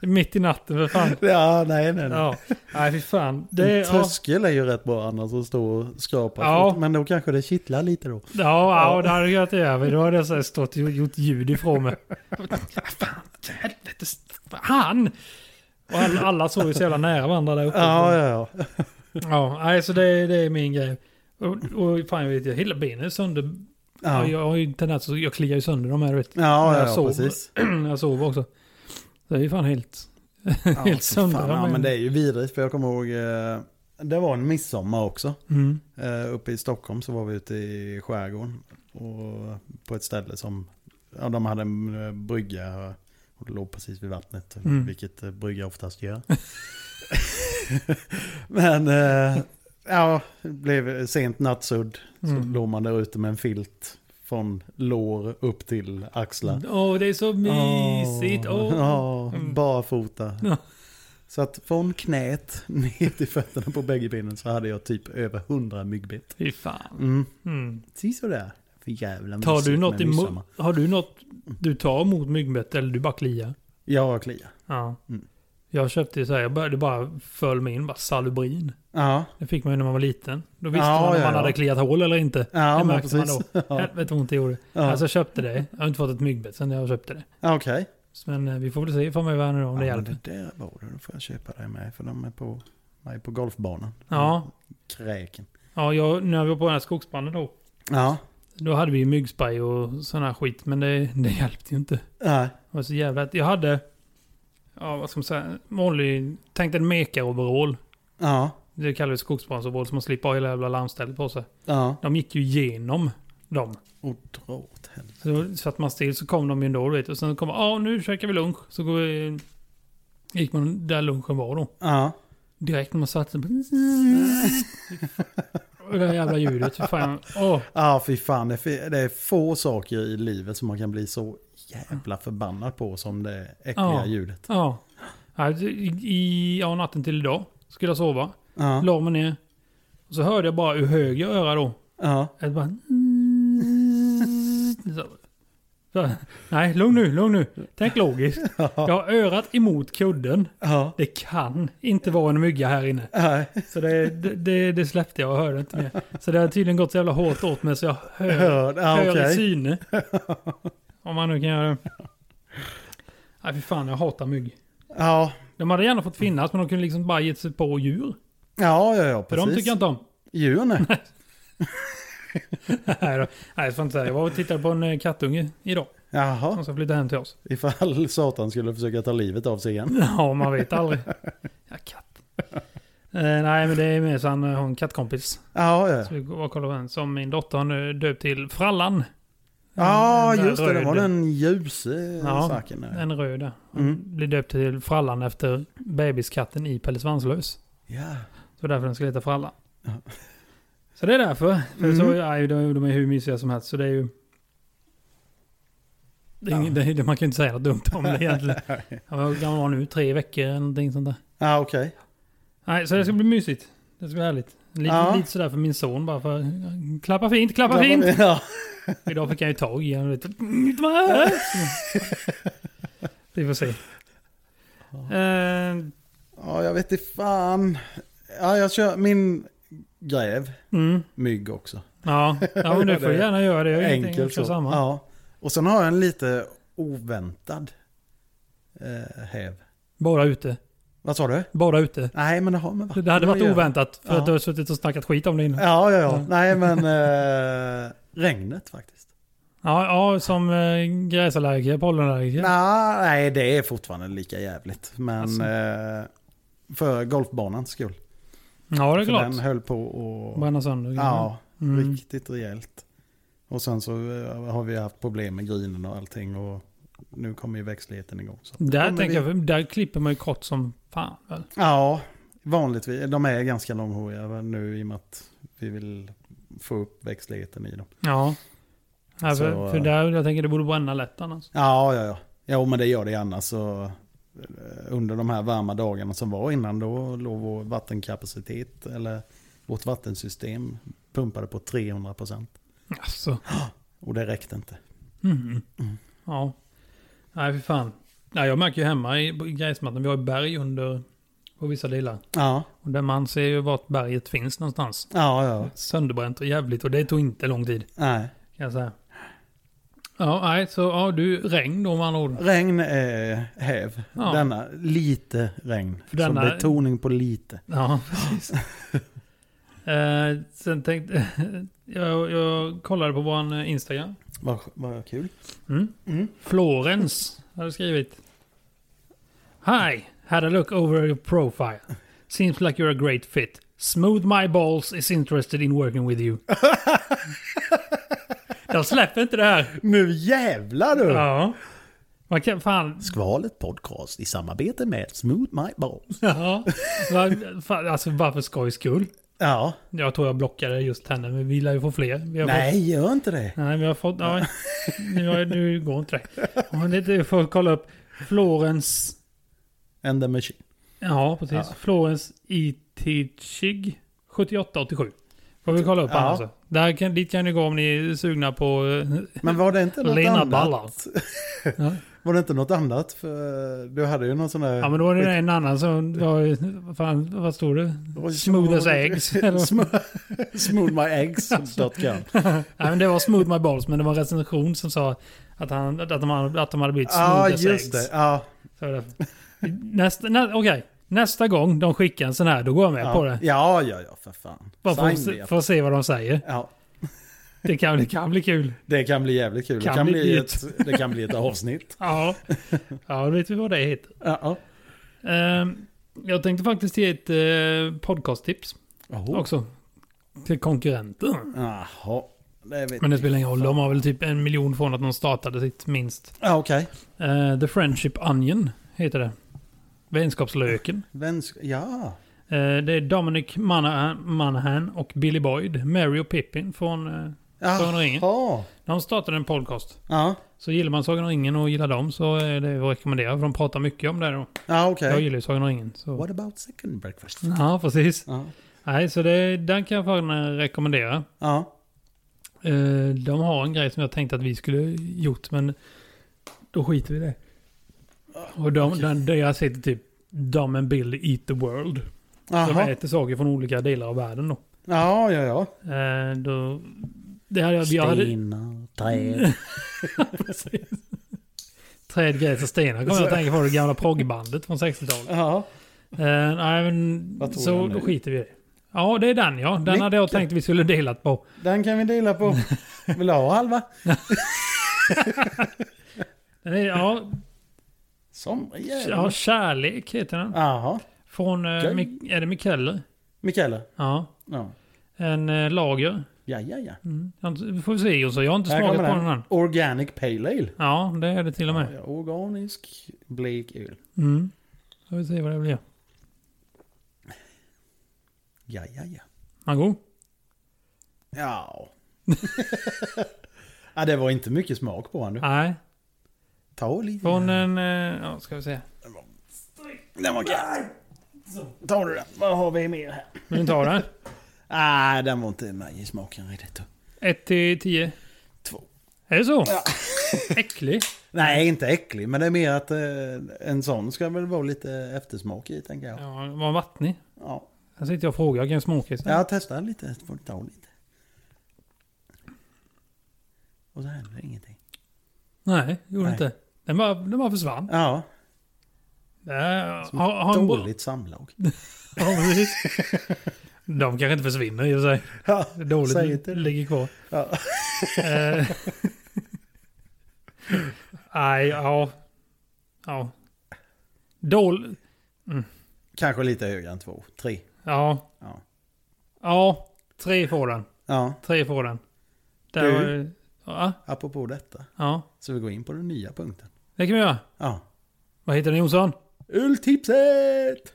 B: Det är mitt i natten för fan.
A: Ja, nej, nej. nej.
B: Ja, nej fy fan. Det,
A: En
B: ja,
A: Tröskel är ju rätt bra annars att stå och skrapa.
B: Ja.
A: fot, Men då kanske det kittlar lite då.
B: ja, ja, det hade jag inte över. Då hade jag så här stått och gjort ljud ifrån mig. Fan, helvete. Han! Och alla, alla såg ju så jävla nära varandra där uppe.
A: Ja, ja, ja.
B: Ja, nej, så det, det är min grej. Och, och fan jag vet, jag hela benet är sönder. Ja.
A: Ja,
B: Jag har ju en tendens att jag kliar ju sönder de här, du vet.
A: ja,
B: jag
A: ja, ja
B: sov.
A: precis.
B: när jag sover också. Så det är ju fan helt...
A: Ja,
B: Helt
A: fy
B: sönder,
A: fan,
B: ja,
A: Ja,
B: men-
A: men det är ju vidrigt för jag kommer ihåg, eh, det var en midsommar också.
B: Mm.
A: Eh, uppe i Stockholm så var vi ute i skärgården. Och på ett ställe som, ja de hade en eh, brygga och det låg precis vid vattnet.
B: Mm.
A: Vilket eh, brygga oftast gör. Men, eh, ja, det blev sent nattsudd. Så
B: Mm.
A: låg man där ute med en filt från lår upp till axlar.
B: Åh, det är så mysigt. Åh.
A: Ja,
B: Mm.
A: barfota.
B: Ja.
A: Så att från knät ner till fötterna på bägge benen så hade jag typ över 100 myggbett.
B: Fy fan.
A: Mm.
B: Mm.
A: Si sådär. För jävla
B: Tar
A: mysigt
B: du något
A: med midsommar.
B: emot, har du något du tar emot myggbett eller du bara kliar?
A: Ja, jag kliar.
B: Ja.
A: Mm.
B: Jag köpte ju så här, jag började bara föll mig in, bara salubrin.
A: Ja,
B: Det fick man ju när man var liten. Då visste
A: Ja,
B: man om
A: ja,
B: man
A: ja.
B: hade kliat hål eller inte.
A: ja
B: det
A: men
B: märkte man
A: precis.
B: då.
A: Ja.
B: Helvete vad ont det gjorde.
A: Ja.
B: Alltså jag köpte det. Jag har inte fått ett myggbett sedan jag köpte det.
A: Ja, Okej.
B: Men eh, vi får väl se framöver nu om det
A: Ja, men
B: hjälper.
A: det där var det. Då får jag köpa det med. För de är på, de är på golfbanan.
B: Ja,
A: Kräken.
B: ja jag, när vi var på den här skogsbranden då.
A: Ja.
B: Då hade vi ju myggspray och sån här skit. Men det, det hjälpte ju inte.
A: Nej.
B: Det var så jävla... Jag hade... ja, vad ska man säga, vanlig, tänk dig en mekaroverall.
A: Ja,
B: Det kallar vi skogsbrandsovråd som man slipper ha hela jävla larmstället på sig.
A: ja.
B: De gick ju igenom dem.
A: Och dra åt helvete.
B: Så satt man still så kom de ju ändå. du Vet. Och sen kom ja nu käkar vi lunch. Så går vi, gick man där lunchen var då.
A: Ja.
B: Direkt när man satt så... Och det här jävla ljudet. fy Fan. Åh,
A: Ja, fy fan. Det är fi- det är få saker i livet som man kan bli så jävla förbannad på som det äckliga
B: Ja.
A: ljudet.
B: ja. Ja, I, i, ja, natten till idag skulle jag sova.
A: Ja,
B: La mig ner. Och så hörde jag bara ur höger öra då.
A: ja.
B: Ett bara... "Mm." Så. Så. Nej, lugn nu, lugn nu. Tänk logiskt. Jag har örat emot kudden.
A: ja.
B: Det kan inte vara en mygga här inne.
A: Nej.
B: Så det, det, det, det släppte jag och hörde inte mer. Så det har tydligen gått så jävla hårt åt mig så jag hör,
A: Hör, ja,
B: hör i
A: okej.
B: syne. Om man nu kan göra det. Nej, fy fan, jag hatar mygg.
A: Ja,
B: De hade gärna fått finnas, men de kunde liksom bara gett sig på djur.
A: ja, ja, ja
B: För de
A: precis.
B: tycker jag inte om.
A: Djur nu.
B: Nej, då. Nej, jag får inte säga. Jag var och tittade på en eh, kattunge idag.
A: Jaha,
B: Som ska flytta hem till oss.
A: ifall Satan skulle försöka ta livet av sig igen.
B: Ja, man vet aldrig. Ja, katt. Eh, nej, men det är med så han eh, har en kattkompis.
A: Ja, ja.
B: Så vi går och kollar på den. Som min dotter har nu döpt till Frallan.
A: Ja,
B: Den där
A: just det. Det var
B: röd-
A: den ljuse
B: Ja,
A: saken. där.
B: En röd där.
A: Mm.
B: Blir döpt till Frallan efter bebiskatten i Pelle Svanslös.
A: Ja.
B: Så därför den ska heta Frallan.
A: Ja.
B: Så det är därför. För
A: Mm.
B: så, nej, de, de är hur mysiga som helst. Så det är ju... Det är ingen, det, det- man kan ju inte säga något dumt om det egentligen. Han var, han var nu tre veckor eller någonting sånt där.
A: Ja, okej.
B: Nej, så det ska bli mysigt. Det ska bli härligt. Lite,
A: Mm. Ja.
B: lite sådär för min son bara för... Klappa fint, klappa fint!
A: Ja.
B: Idag fick jag ju tag i honom. lite. Inte vara här. Vi får se. Eh,
A: ja, jag vet inte fan. Ja, jag kör min gräv.
B: mm,
A: Mygg också.
B: ja. ja, men du får gärna göra det. Jag har ingenting
A: Enkelt
B: att
A: så.
B: samma.
A: Ja. Och sen har jag en lite oväntad eh, häv.
B: Bara ute.
A: Vad sa du?
B: Bara ute.
A: Nej, men det har man
B: Det hade
A: vad
B: varit
A: gör-
B: oväntat för
A: Ja.
B: att du har suttit och snackat skit om det innan.
A: Ja, ja, ja.
B: Ja.
A: Nej, men eh, regnet faktiskt.
B: Ja, ja som eh, gräsallergiker, pollenallergiker.
A: Nej, nej, det är fortfarande lika jävligt. Men
B: Alltså.
A: eh, för golfbanans skull.
B: Ja, det är
A: för
B: klart.
A: den höll på och...
B: Bränna sönder.
A: Ja,
B: Mm.
A: riktigt rejält. Och sen så eh, har vi haft problem med grinen och allting. Och nu kommer ju växtligheten igång. Så.
B: Där,
A: Ja, men
B: tänker
A: vi-
B: jag, där klipper man ju kort som fan väl?
A: Ja, vanligtvis. De är ganska långhåriga men nu i och med att vi vill få upp växtligheten i dem.
B: Ja. ja för,
A: Så,
B: för
A: eh,
B: där, jag tänker det borde bränna lätt annars.
A: Ja, ja, ja. Jo, men det gör det annars. Så eh, under de här varma dagarna som var innan då låg vår vattenkapacitet eller vårt vattensystem pumpade på 300 procent.
B: Alltså.
A: Och det räckte inte.
B: Mm. Ja. Nej, för fan. Nej, jag märker ju hemma i i gräsmattan, vi har ju berg under på vissa delar.
A: Ja,
B: Och där man ser ju vart berget finns någonstans.
A: ja, ja.
B: Sönderbränt och jävligt och det tog inte lång tid
A: Nej.
B: kan jag säga. Ja, nej, så ja, du, regn då med andra ord.
A: Regn är häv.
B: Ja.
A: Denna, lite regn.
B: För denna-
A: Så betoning på lite.
B: Ja, precis. eh, sen tänkte jag, jag kollade på våran eh, Instagram.
A: Vad, vad kul.
B: Mm.
A: Mm.
B: Florence hade skrivit. Hi, had a look over your profile. Seems like you're a great fit. Smooth My Balls is interested in working with you. Jag släpper inte det här.
A: Nu jävlar du!
B: Ja. Man kan fan...
A: Skvalet podcast i samarbete med Smooth My Balls.
B: Ja. Va- fan, Alltså bara för skojs skull.
A: Ja.
B: Jag tror jag blockade just henne, men vi lär ju få fler. Vi har Fått,
A: Nej, gör inte det.
B: nej, vi har fått... Ja, nu, har- nu går inte det. Ja, men det- Du får kolla upp Florence...
A: And the machine.
B: Ja, precis.
A: Ja.
B: Florens Itichig 7887. Får vi kolla upp
A: Ja.
B: ja. alltså. Där kan, dit kan ni gå om ni är sugna på eh,
A: Men var det inte något
B: Lena
A: annat?
B: Ballard. ja.
A: Var det inte något annat? För du hade ju någon sån där...
B: ja, men då var det en annan som var... vad Fan, vad stod det?
A: Oj,
B: Smooth as
A: oj, oj.
B: eggs. Eller?
A: Sm- Smoothmyeggs.com
B: Nej, men det var Smooth My Balls, men det var en recension som sa att, han, att, de, hade- att de hade blivit smooth
A: Ja,
B: as
A: Ah, just
B: eggs.
A: det. Ja,
B: Så var det. Nästa, nä, okej. Nästa gång de skickar en sån här, då går jag med på
A: ja.
B: det.
A: ja, ja, ja, för fan.
B: Bara för att,
A: Sign me
B: se-
A: up.
B: för att se vad de säger.
A: Ja,
B: Det kan, det kan bli kul.
A: det kan bli jävligt kul.
B: Kan
A: det, kan
B: bli
A: bli
B: ett-
A: ett, det kan bli ett avsnitt.
B: Ja, ja då vet vi vad det heter.
A: Ja, ja.
B: Ehm, jag tänkte faktiskt ge ett eh, podcasttips
A: Oho.
B: också. Till konkurrenter.
A: Jaha. Det vet
B: Men det spelar ingen roll. De har väl typ en miljon från att de startade sitt minst.
A: Ja, okej.
B: Eh, The Friendship Onion heter det. Vänskapslöken.
A: Vänsk... Ja.
B: Eh, det är Dominic Monaghan, Monaghan och Billy Boyd. Mary och Pippin från eh,
A: Ah.
B: Sagan om ringen.
A: Jaha.
B: De startade en podcast.
A: Ja.
B: Så gillar man Sagan om ringen och gillar dem så är det att rekommendera. För de pratar mycket om det då.
A: Ja, okej.
B: Jag gillar ju Sagan om ringen. Så.
A: What about second breakfast?
B: Ja, precis.
A: Ja.
B: Nej, så det, den kan jag fan eh, rekommendera.
A: Ja.
B: Eh, de har en grej som jag tänkte att vi skulle gjort, men då skiter vi i det. Och de, den, deras heter typ Dumb and Bill Eat the World. De
A: Jaha.
B: äter saker från olika delar av världen då.
A: Ja, ja, ja.
B: Eh, då det hade jag... jag hade,
A: Stenar, träd.
B: precis. Träd, gräs och stenar kommer jag att tänka på det gamla proggbandet från 60-talet.
A: Ja.
B: Eh, nej, men
A: Vad tog
B: så
A: den nu?
B: då skiter vi i det. Ja, det är den ja. Den hade jag
A: Mycket.
B: tänkt vi skulle delat på.
A: Den kan vi dela på. Vill du ha halva?
B: Den är, ja,
A: Som
B: ja,
A: jävla.
B: Kärlek heter den.
A: Jaha.
B: Från, eh,
A: Okej.
B: Mik- är det Mikeller?
A: Mikaela.
B: Ja.
A: Ja.
B: En eh, lager.
A: Ja, ja, ja.
B: Mm. Jag får vi se Jonsson, jag har inte
A: Här
B: smakat på
A: kommer
B: den än.
A: Organic Pale Ale.
B: Ja, det är det till och med.
A: Ja, organisk blek öl.
B: Mm. Får vi se vad det blir.
A: Ja, ja, ja.
B: Han god?
A: Ja. ja, det var inte mycket smak på honom.
B: Nej.
A: Ta lite.
B: Från en... eh, Ja, ska vi se.
A: Den var kall. Tar du den? Vad har vi mer här?
B: Vill ni ta den?
A: Nej, den var inte med i smaken riktigt.
B: 1 till 10.
A: Två.
B: Är det så? Äcklig.
A: Nej, inte äcklig, men det är mer att eh, en sån ska väl vara lite eftersmak i, tänker jag. Ja.
B: Ja, den var vattnig.
A: ja.
B: Här sitter jag och frågar. Kan jag smaka istället?
A: Jag testar lite, så får du ta lite. Och så händer ingenting.
B: Nej, gjorde
A: Nej.
B: inte. Den bara, den bara försvann.
A: Ja,
B: Äh, har, har en bra-
A: dåligt samlag.
B: Ja, precis. De kanske inte försvinner i och för sig.
A: Ja,
B: Det är Dåligt
A: Säg inte det.
B: ligger kvar.
A: Ja.
B: Eh, Nej, ja. Ja. Dål...
A: Kanske lite högre än två, tre.
B: Ja.
A: Ja.
B: Ja, tre får den.
A: Ja,
B: Tre får den.
A: Du?
B: Där var det- ja,
A: apropå detta.
B: ja,
A: Så vi går in på den nya punkten.
B: det kan vi göra.
A: Ja.
B: Vad heter den Jonsson?
A: Öltipset!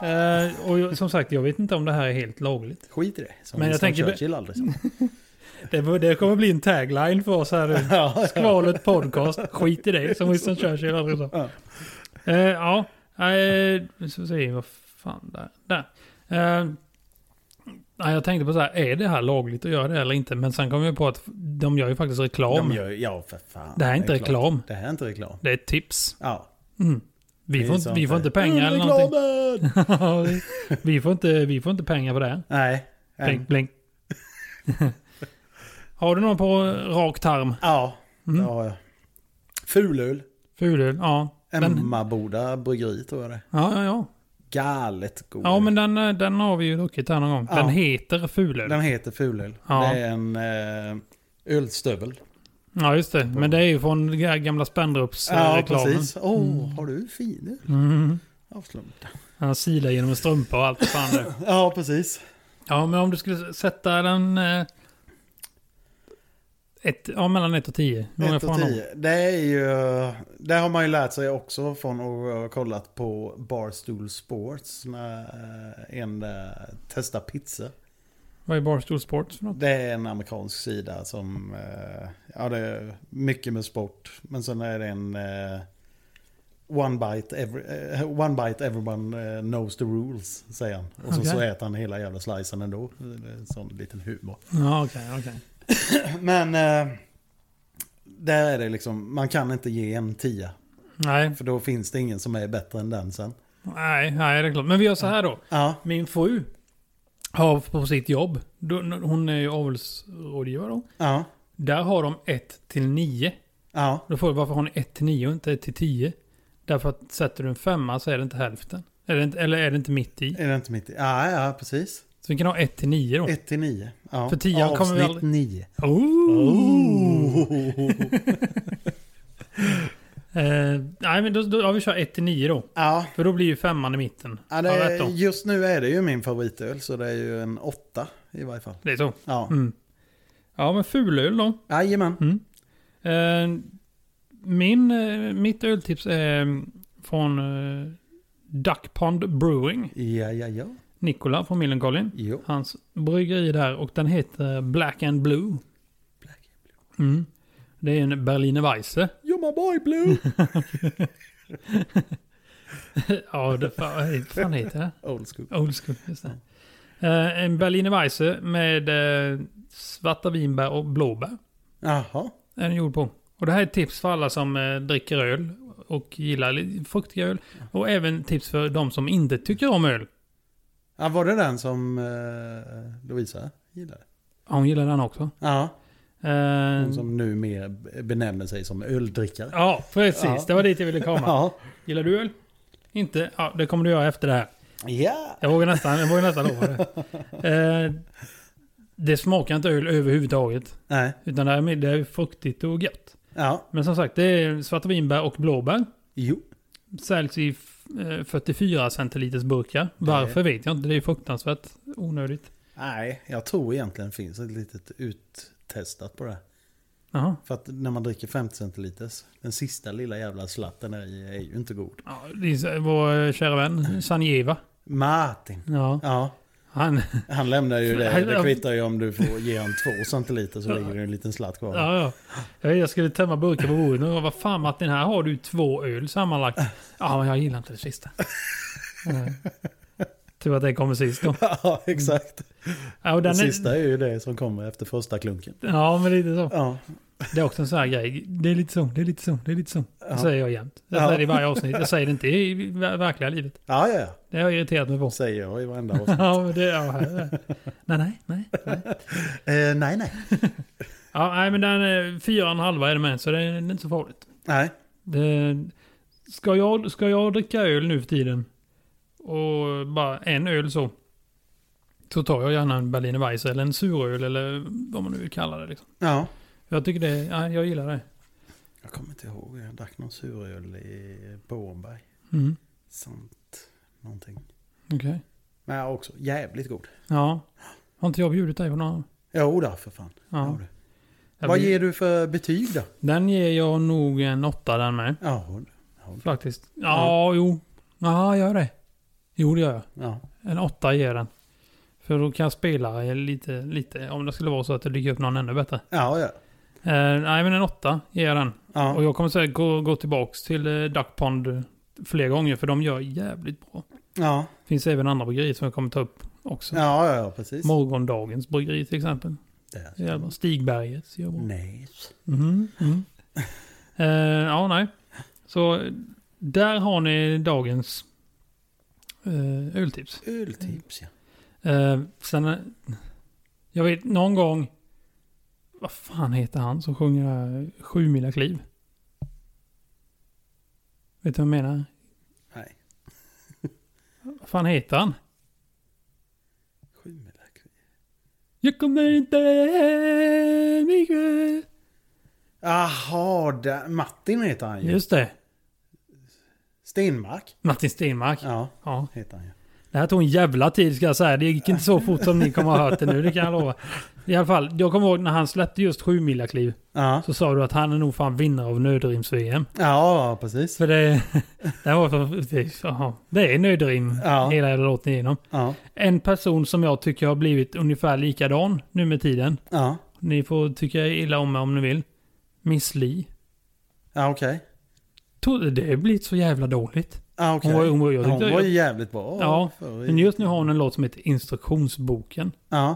B: Eh, och jag- som sagt, jag vet inte om det här är helt lagligt.
A: Skit i det. Som
B: Men jag
A: Winston
B: tänker-
A: Churchill aldrig sa.
B: Det, det kommer bli en tagline för oss här nu.
A: ja,
B: Skvalet podcast, skit i det, som Winston Churchill aldrig sa.
A: Ja.
B: Eh, ja, eh, nu ska vi se, vad fan där. där. Eh, nej, jag tänkte på så här, är det här lagligt att göra det eller inte? Men sen kom jag på att de gör ju faktiskt reklam.
A: de gör, ja, för fan.
B: det här är inte
A: klart.
B: reklam,
A: Det här är inte reklam.
B: det är ett tips.
A: Ja.
B: Mm. Vi,
A: Det är
B: får
A: Mm,
B: inte,
A: sant
B: vi får
A: det.
B: inte pengar eller någonting.
A: Reklamen!
B: Ja, vi- vi, får inte, vi får inte pengar på det. här.
A: Nej. än.
B: Blink, blink. Har du någon på rak tarm?
A: Ja.
B: Mm.
A: ja. Fulöl.
B: Fulöl? Ja. Den,
A: Emmaboda bryggeri tror jag det är.
B: ja, ja, ja.
A: Galet god.
B: Ja, men den, eh, den har vi ju druckit här någon gång.
A: Ja.
B: Den heter Fulöl.
A: Den heter Fulöl.
B: Ja.
A: Det är en eh, ölstövel.
B: Ja, just det. Men det är ju från den här gamla Spendrups-reklamen.
A: Ja, precis. Åh, har du fin öl?
B: Mm.
A: Avslumta.
B: Han silar genom en strumpa och allt vad fan det är.
A: Ja, precis.
B: Ja, men om du skulle sätta den... Eh, ett, ja, mellan 1 och 10. Hur många
A: Ett
B: får
A: och
B: han då?
A: tio. Det är ju... Det har man ju lärt sig också från att ha kollat på Barstool Sports. När eh, en där testar pizza.
B: Vad är Barstool Sports för något?
A: Det är en amerikansk sida som... eh, Ja, det är mycket med sport. Men sen är det en... eh, One bite, every, eh, one bite everyone eh, knows the rules, säger han. Och så,
B: Okej.
A: så äter han hela jävla slicen ändå. Det är en sån liten humor.
B: Ja, okej, okej.
A: Men... eh, Där är det liksom, man kan inte ge en tia
B: Nej,
A: För då finns det ingen som är bättre än den sen.
B: nej, nej, det är klart. Men vi gör så här då.
A: Ja,
B: Min fru har på sitt jobb, då- hon är ju avelsrådgivare då.
A: ja,
B: Där har de 1 till 9.
A: ja.
B: Då får du varför har ni 1 till 9 och inte 1 till 10? Därför att sätter du en femma så är det inte hälften. Är det inte, eller är det inte mitt i?
A: Är det inte mitt i? Ja, ja precis.
B: Så vi kan ha 1 till 9 då.
A: 1 till 9. Ja.
B: För tian kommer vi
A: Avsnitt
B: aldrig-
A: 9.
B: Oh.
A: Oh.
B: Eh, nej, men då, då har vi kört 1 till 9 då.
A: ja,
B: För då blir ju femman i mitten.
A: ja det
B: Har jag rätt
A: är,
B: då?
A: just nu är det ju min favoritöl så det är ju en 8 i varje fall.
B: Det är så.
A: Ja,
B: Mm. Ja, men fulöl då.
A: jajamän.
B: Mm. Eh, min, eh, mitt öltips är från eh, Duck Pond Brewing.
A: Ja, ja, ja.
B: Nikola från Millencolin.
A: Jo.
B: Hans bryggeri där och den heter Black and Blue. Mm. Det är en Berliner Weisse.
A: You're my boy blue.
B: ja, det fan, vad fan heter det?
A: Old school.
B: Old school, just det. Eh, en Berliner Weisse med eh, svarta vinbär och blåbär.
A: Jaha.
B: Är den gjord på. Och det här är ett tips för alla som eh, dricker öl och gillar lite fruktiga öl. Och även tips för de som inte tycker om öl.
A: Ja, var det den som eh, Lovisa gillade?
B: Ja, hon gillar den också.
A: Ja,
B: Eh,
A: hon som numera benämner sig som öldrickare.
B: Ja, precis.
A: Ja.
B: Det var dit jag ville komma.
A: Ja.
B: Gillar du öl? Inte? Ja, det kommer du göra efter det här.
A: Ja.
B: Jag vågar nästan, jag vågar nästan lova det. Eh, det smakar inte öl överhuvudtaget.
A: Nej.
B: Utan det är, mer- det är fruktigt och gött.
A: Ja.
B: Men som sagt, det är svarta vinbär och blåbär.
A: Jo.
B: Säljs i eh, 44 centiliters burkar. Varför vet jag inte. Det är fruktansvärt onödigt.
A: Nej, jag tror egentligen finns ett litet uttestat på det.
B: Jaha.
A: För att när man dricker 50 centiliters, den sista lilla jävla slatten är, är ju inte god.
B: Ja, det är så- vår eh, kära vän Sanjeva.
A: Martin.
B: Ja,
A: Ja,
B: han...
A: han lämnar ju det.
B: Han-
A: Det kvittar ju om du får ge han två centiliter så ligger det en liten slatt kvar.
B: Ja, ja. Jag vet, Jag skulle tömma burken på bordet och jag bara, vad fan Martin, här har du två öl sammanlagt. Ja, men jag gillar inte det sista. Eh, Tur att det kommer sist då.
A: Ja, exakt.
B: Ja, och den
A: Den
B: är,
A: sista är ju det som kommer efter första klunken.
B: ja men lite så.
A: Ja,
B: Det är också en sån här grej. Det är lite så, det är lite så, det är lite så.
A: Ja.
B: Det säger jag jämt. Jag
A: Ja.
B: säger det i varje avsnitt. Jag säger det inte i ver- verkliga livet.
A: ja, ja.
B: Det har jag irriterat mig på.
A: ja. Säger jag i varenda avsnitt.
B: Ja, men det, ja, här- nej, nej, nej. nej.
A: eh, nej, nej.
B: Ja, nej, men den är fyra och en halva är det med, så det är inte så farligt.
A: Nej.
B: Det, ska, jag, ska jag dricka öl nu för tiden och bara en öl så. Så tar jag gärna en Berliner Weisse eller en suröl eller vad man nu vill kalla det. Liksom.
A: Ja.
B: Jag tycker det, ja, jag gillar det.
A: Jag kommer inte ihåg. Jag drack någon suröl i Bornberg.
B: Mm,
A: Sant. Någonting.
B: Okej.
A: Men jag också jävligt god.
B: Ja. Har inte jag bjudit dig på någon?
A: Jo då, för fan. Jo
B: Ja.
A: då.
B: Jag
A: Vad
B: blir-
A: ger du för betyg då?
B: Den ger jag nog en åtta den med.
A: Ja, hon-
B: Faktiskt. Ja, jo. Ja, gör det. Jo, det gör jag.
A: ja.
B: En åtta ger den. För då kan jag spela lite, lite. Om det skulle vara så att det dyker upp någon ännu bättre.
A: ja, ja.
B: Eh, nej, men en åtta ger jag den. Och
A: ja.
B: jag kommer säkert gå, gå tillbaks till eh, Duck Pond fler gånger för de gör jävligt bra.
A: ja.
B: Finns även andra bryggerier som jag kommer ta upp också.
A: Ja, ja, ja, precis.
B: Morgondagens bryggeri till exempel.
A: Där.
B: Det är jävla- Stigbergets gör bra.
A: Nej.
B: Mhm, mhm. Eh, ja, nej. Så eh, där har ni dagens eh, öltips.
A: Öltips ja.
B: Eh, sen, eh, jag vet någon gång, vad fan heter han som sjunger eh, Sju mila kliv? Vet du vad jag menar?
A: Nej.
B: Vad fan heter han?
A: Sjumilakliv.
B: Jag kommer inte hem ikväll.
A: Jaha, där- Martin heter han ju.
B: Just det.
A: Stenmark.
B: Martin Stenmark. Ja.
A: Ja, heter han ju.
B: Det här tog en jävla tid ska jag säga. Det gick inte så fort som ni kommer att ha hört det nu, det kan jag lova. I alla fall, jag kommer ihåg när han släppte just Sju mila kliv.
A: Ja,
B: Så sa du att han är nog fan vinnare av nödrims-VM.
A: ja precis.
B: För det, det var för, det, jaha. det är nödrim
A: Ja.
B: hela jävla låten igenom.
A: Ja,
B: En person som jag tycker har blivit ungefär likadan nu med tiden.
A: ja.
B: Ni får tycka illa om mig om ni vill. Miss Li.
A: Ja, okej.
B: To- Det har blivit så jävla dåligt.
A: Ja, okej.
B: Hon var- hon var- jag
A: Hon
B: tyckte-
A: var ju jävligt bra.
B: Ja,
A: förr i-
B: Men just nu har hon en låt som heter Instruktionsboken.
A: Ja,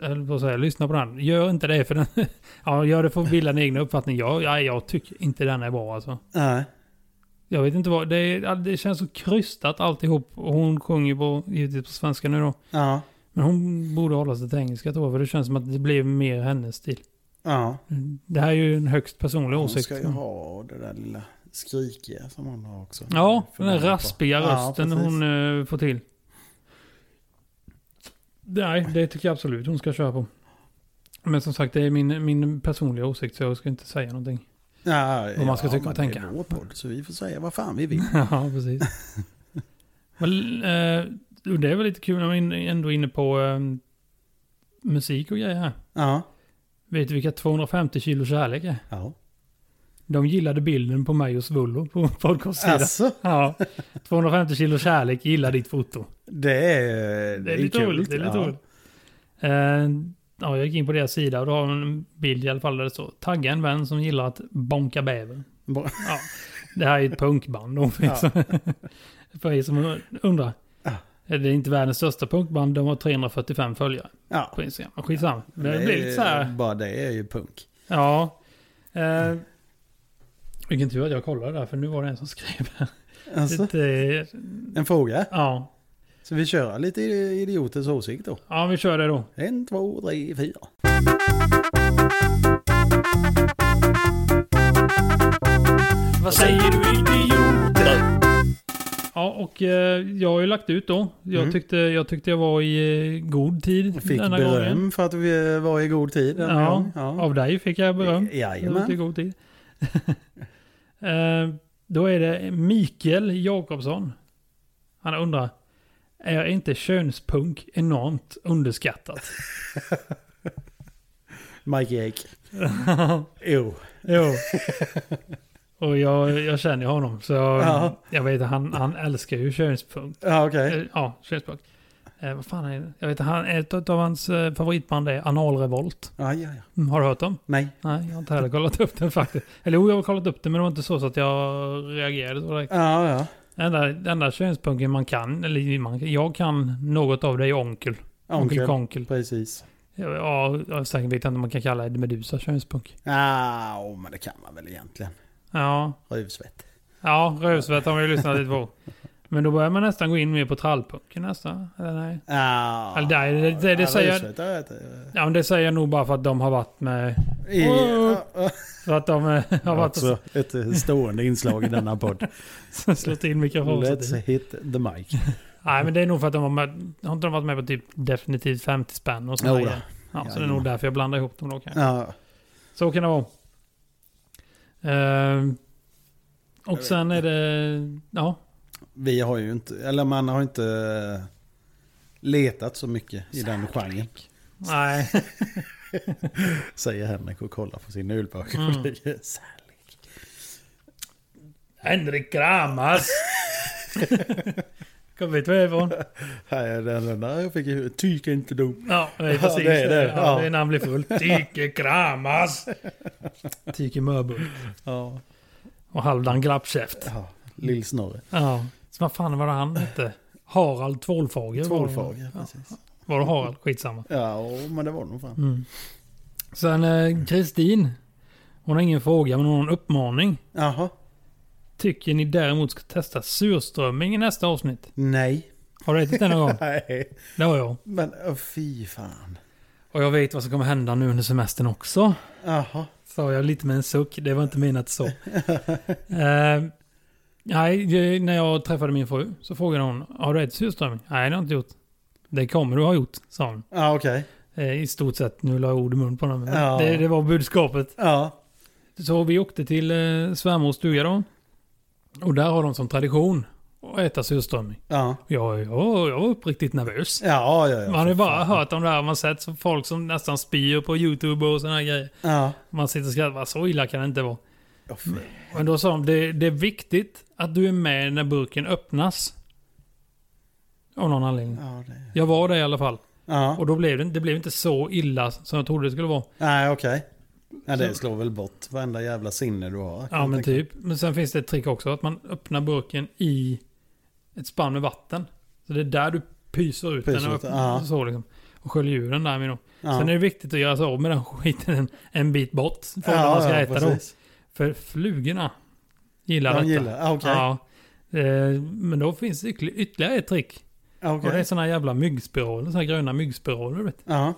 B: Jag höll på att säga, lyssna på den. Gör inte det för den... Ja, gör det för att bilda en egen uppfattning. Jag, ja, jag tycker inte den är bra alltså.
A: nej.
B: Jag vet inte vad... Det, är- ja, det känns så krystat alltihop. Och hon sjunger på, givetvis på svenska nu då.
A: Ja,
B: Men hon borde hålla sig till engelska tror jag, för det känns som att det blev mer hennes stil.
A: ja.
B: Det här är ju en högst personlig
A: Hon
B: åsikt.
A: ska ju ha det där lilla skrikiga som hon har också.
B: Ja, den där
A: Fundera på.
B: raspiga
A: Ja,
B: rösten
A: precis.
B: hon eh, får till. Nej, det tycker jag absolut hon ska köra på. Men som sagt, det är min, min personliga åsikt så jag ska inte säga någonting.
A: Ja,
B: Vad man ska
A: ja,
B: tycka och
A: men Det
B: tänka.
A: är vår podd, så vi får säga vad fan vi vill.
B: ja, precis. Men, eh, och det är väl lite kul när man ändå är inne på eh, musik och grejer här.
A: Ja.
B: Vet du vilka 250 kilo kärlek är?
A: ja.
B: De gillade bilden på mig och Svullo på podcastsidan.
A: Alltså,
B: Ja, 250 kilo kärlek gillar ditt foto.
A: det är...
B: Det är lite
A: kul.
B: roligt. Det är lite
A: Ja.
B: roligt. Eh, ja, jag gick in på deras sida och då har de en bild i alla fall där det står tagga en vän som gillar att bonka bäver.
A: Bra.
B: Ja, det här är ett punkband då. För, er som, för er som undrar.
A: Ja.
B: Det är inte världens största punkband. De har 345 följare
A: Ja.
B: på Instagram. Men Skitsamma. Men det blir lite så här.
A: Bara det är ju punk.
B: Ja. Eh, vilken tur att jag kollade där. För nu var det en som skrev.
A: Alltså,
B: Lite, eh,
A: en fråga.
B: ja.
A: Så vi kör lite idiotens åsikt då.
B: ja, vi kör det då.
A: En, två, tre, fyra.
B: Vad säger du idioter? Ja, och eh, jag har ju lagt ut då. Jag,
A: Mm.
B: tyckte, jag tyckte jag var i eh, god tid
A: Fick
B: denna
A: beröm
B: gången.
A: för att vi eh, var i god tid. denna
B: Ja,
A: gång. ja.
B: Av dig fick jag beröm. Jag var ute i
A: Jajamän.
B: god tid. eh, då är det Mikael Jakobsson. Han undrar. Är inte könspunk enormt underskattat?
A: Mike Jake. Jo.
B: jo. Och jag, jag känner ju honom. Så
A: Ja.
B: jag vet att han, han älskar ju könspunk.
A: Ja, okej.
B: Eh, Ja, könspunk. Eh, vad fan är det? Jag vet, han, ett av hans eh, favoritband är Analrevolt.
A: Ja, ja, ja.
B: Mm, har du hört dem?
A: Nej.
B: Nej, jag har inte heller kollat upp den faktiskt. Eller jo, jag har kollat upp den men det var inte så, så att jag reagerade så direkt.
A: Ja, ja.
B: Den där, den där könspunken man kan, eller man, jag kan något av det är onkel. Onkel
A: Onkel.
B: konkel.
A: Precis.
B: Ja, ja, jag säkert vet jag inte om man kan kalla det Medusa könspunk.
A: Ja, åh, men det kan man väl egentligen.
B: Ja,
A: Rövsvett.
B: ja rövsvett har vi ju lyssnat lite på. Men då börjar man nästan gå in mer på trallpunken nästan. Eller nej.
A: Ja.
B: Eller där, det- det- det
A: Ja,
B: säger-
A: rövsvett, jag vet inte.
B: Ja, men det säger jag nog bara för att de har varit med
A: I-
B: Åh.
A: Ja, ja.
B: För att de eh, har varit och
A: Också ett eh, stående inslag i denna podd.
B: s- slått in mikrofonen.
A: Let's hit the mic.
B: Nej, men det är nog för att de har, med, har inte de varit med på typ definitivt 50 spänn och sådär.
A: Jo då.
B: grejer? Oh, ja, så det är
A: Jajamän.
B: nog därför jag blandar ihop dem då kanske.
A: Ja,
B: Så kan det vara. Ehm, och sen är det... Ja,
A: vi har ju inte, eller man har inte eh, letat så mycket i den genren.
B: nej.
A: Säger Henrik och kollar på sin ölburk.
B: Mm.
A: Särlig.
B: Henrik Kramas! Kom hit härifrån.
A: Nej, den där jag fick ju tyka inte dom.
B: Ja, det är
A: Ja,
B: precis.
A: det är det.
B: Ja,
A: Ja.
B: det är när han blir full. Tyke Kramas! Tyke Mörbull.
A: Ja.
B: Och halvdan glappkäft.
A: ja. Lill-Snorre.
B: Ja. Så vad fan var det han hette? Harald Tvålfager. var det.
A: Tvålfager, precis.
B: Var det Harald? Skitsamma.
A: Ja, åh, men det var nog fan.
B: Mm. Sen eh, Kristin. Hon har ingen fråga men hon har en uppmaning.
A: Jaha.
B: Tycker ni däremot ska testa surströmming i nästa avsnitt?
A: Nej.
B: Har du ätit den någon gång?
A: Nej.
B: Det har jag.
A: Men åh, fy fan.
B: Och jag vet vad som kommer hända nu under semestern också.
A: Jaha.
B: Sa jag lite med en suck. Det var inte menat så. eh, nej, det- när jag träffade min fru så frågade hon. Har du ätit surströmming? Nej, det har jag inte gjort. Det kommer du ha gjort, sa hon.
A: Ja, okej.
B: Eh, I stort sett, nu la jag ord i mun på honom. men
A: Ja.
B: Det, det var budskapet.
A: Ja.
B: Så vi åkte till eh, svärmors stuga då. Och där har de som tradition att äta surströmming.
A: Ja.
B: Jag, jag, jag var uppriktigt nervös.
A: Ja, ja, ja.
B: Man har ju
A: för fan.
B: bara hört om det här. Man har sett så folk som nästan spyr på YouTube och sådana här grejer.
A: Ja.
B: Man sitter och skrattar. "Va, Så illa kan det inte vara.
A: Åh, fy.
B: Men då sa de det, det är viktigt att du är med när burken öppnas. Av någon anledning.
A: Ja, det.
B: Jag var det i alla fall.
A: Ja.
B: Och då blev det, det blev inte så illa som jag trodde det skulle vara.
A: Nej, okej. Ja, det slår väl bort varenda jävla sinne du har. kan
B: Ja
A: jag
B: men
A: tänka.
B: typ. Men sen finns det ett trick också. Att man öppnar burken i ett spann med vatten. Så det är där du pyser ut
A: Pyser
B: den. Och,
A: ut den, ja.
B: så liksom, och sköljer ur den där med då.
A: Ja.
B: Sen är det viktigt att göra sig av med den skiten en, en bit bort. För
A: Ja,
B: att man ska
A: ja,
B: äta
A: precis.
B: då. För flugorna gillar
A: De
B: detta.
A: gillar, ah, okej.
B: Ja. Eh, Men då finns det ytterligare- ytterligare ett trick.
A: Ja, okej.
B: Och det är sådana jävla myggspiraler. Sådana gröna myggspiraler. Vet. du.
A: Ja,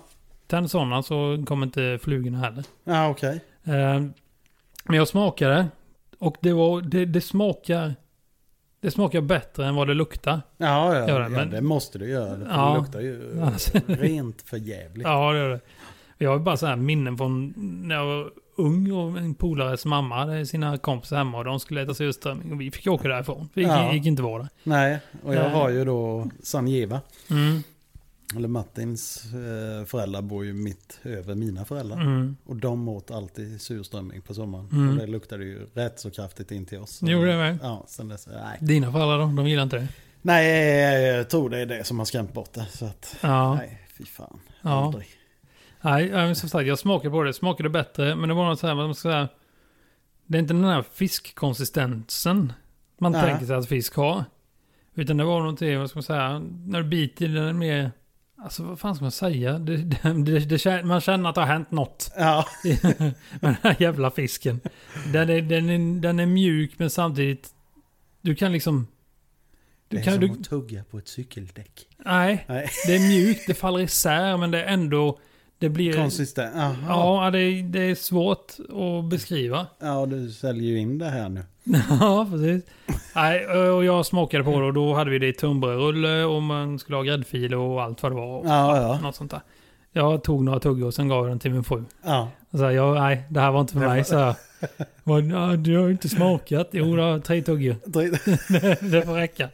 B: Tänd sådana så kommer inte flugorna heller.
A: ja okej.
B: Eh, Men jag smakade Och det, var, det, det smakar... Det smakar bättre än vad det luktar.
A: Ja, ja,
B: Gör
A: ja,
B: det, men-
A: det måste du göra. Det
B: Ja.
A: luktar ju
B: Alltså.
A: rent för jävligt.
B: Ja, det gör det. Jag har ju bara så här minnen från när jag var ung och en polares mamma hade sina kompisar hemma och de skulle äta surströmming och vi fick åka därifrån. Vi gick,
A: Ja.
B: gick inte vara där.
A: Nej, och jag
B: Nej.
A: har ju då Sanjeva.
B: Mm,
A: Eller Martins eh, föräldrar bor ju mitt över mina föräldrar.
B: mm.
A: Och de åt alltid surströmming på sommaren.
B: Mm.
A: Och det luktade ju rätt så kraftigt in till oss. Så-
B: Gjorde det med?
A: Ja, sen dess. Nej.
B: Dina föräldrar då? De gillar inte det?
A: nej, jag tror det är det som har skrämt bort det. Så att,
B: Ja. Nej,
A: nej, fy fan.
B: ja.
A: Aldrig.
B: Nej, ja, men som sagt, jag smakade på det. Smakade bättre, men det var något så här, vad man ska säga. Det är inte den här fiskkonsistensen man
A: Nej.
B: tänker sig att fisk har. Utan det var någonting, vad ska man säga, när du biter i den är det mer... Alltså vad fan ska man säga? Det, det, det, det, kän- man känner att det har hänt något.
A: Ja,
B: med den här jävla fisken. Den är, den, är, den är mjuk men samtidigt... Du kan liksom...
A: det
B: Du
A: är
B: kan,
A: som
B: du,
A: att tugga på ett cykeldäck.
B: nej,
A: Nej.
B: det är mjukt, det faller isär men det är ändå... Det blir...
A: Konsistent. Jaha.
B: Eh, Ja, det är, det är svårt att beskriva.
A: Ja, du säljer ju in det här nu.
B: Ja, precis. Nej, och jag smakade på det och då hade vi det i tunnbrödsrulle och man skulle ha gräddfil och allt vad det var. Och
A: Ja, ja.
B: Något sånt där. Jag tog några tuggor och sen gav jag den till min fru.
A: ja.
B: Så här, jag, nej, det här var inte för mig. Så här, Vad, ja, du har ju inte smakat. Jo, då, tre tuggor. det får räcka.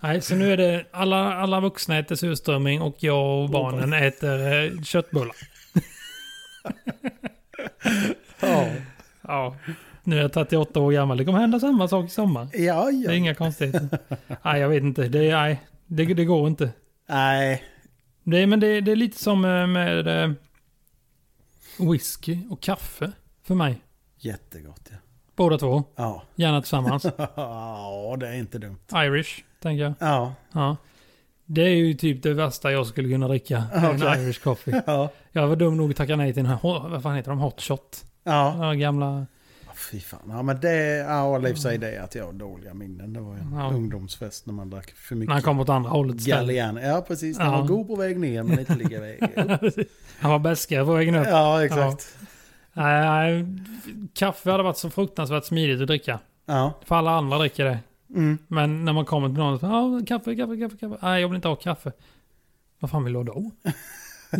B: Nej, så nu är det alla, alla vuxna äter surströmming och jag och barnen äter eh, köttbullar.
A: ja.
B: Ja, nu är jag 38 år gammal. Det kommer hända samma sak i sommar.
A: Ja,
B: Det är
A: ja.
B: inga konstigheter. Nej, jag vet inte. Det, är- nej, det, det går inte.
A: Nej.
B: Det, är- men det, det är lite som eh, med eh, whisky och kaffe för mig.
A: Jättegott ja.
B: Båda två.
A: Ja.
B: Gärna tillsammans.
A: Ja, det är inte dumt.
B: Irish, tänker jag.
A: Ja.
B: Ja. Det är ju typ det värsta jag skulle kunna dricka. En
A: Okej.
B: Irish coffee.
A: Ja.
B: Jag var dum nog att tacka nej till den här, ho- vad fan heter de, hot shot.
A: Ja.
B: Ja. Gamla,
A: Fy fan. Ja, men det... Ja, Leif säger det att jag har dåliga minnen. Det var ju en
B: Ja.
A: ungdomsfest när man drack för mycket.
B: när han kom åt andra hållet istället.
A: Gallian. Ja, precis. Den
B: Ja.
A: var god på väg ner men inte lika väg upp.
B: Han var bäskare på vägen upp.
A: Ja, exakt.
B: Nej, nej, kaffe hade varit så fruktansvärt smidigt att dricka.
A: Ja.
B: För alla andra dricker det.
A: Mm.
B: Men när man kommer till någon och säger ah, kaffe, kaffe, kaffe, kaffe. Nej, jag vill inte ha kaffe. Vad fan vill du ha då?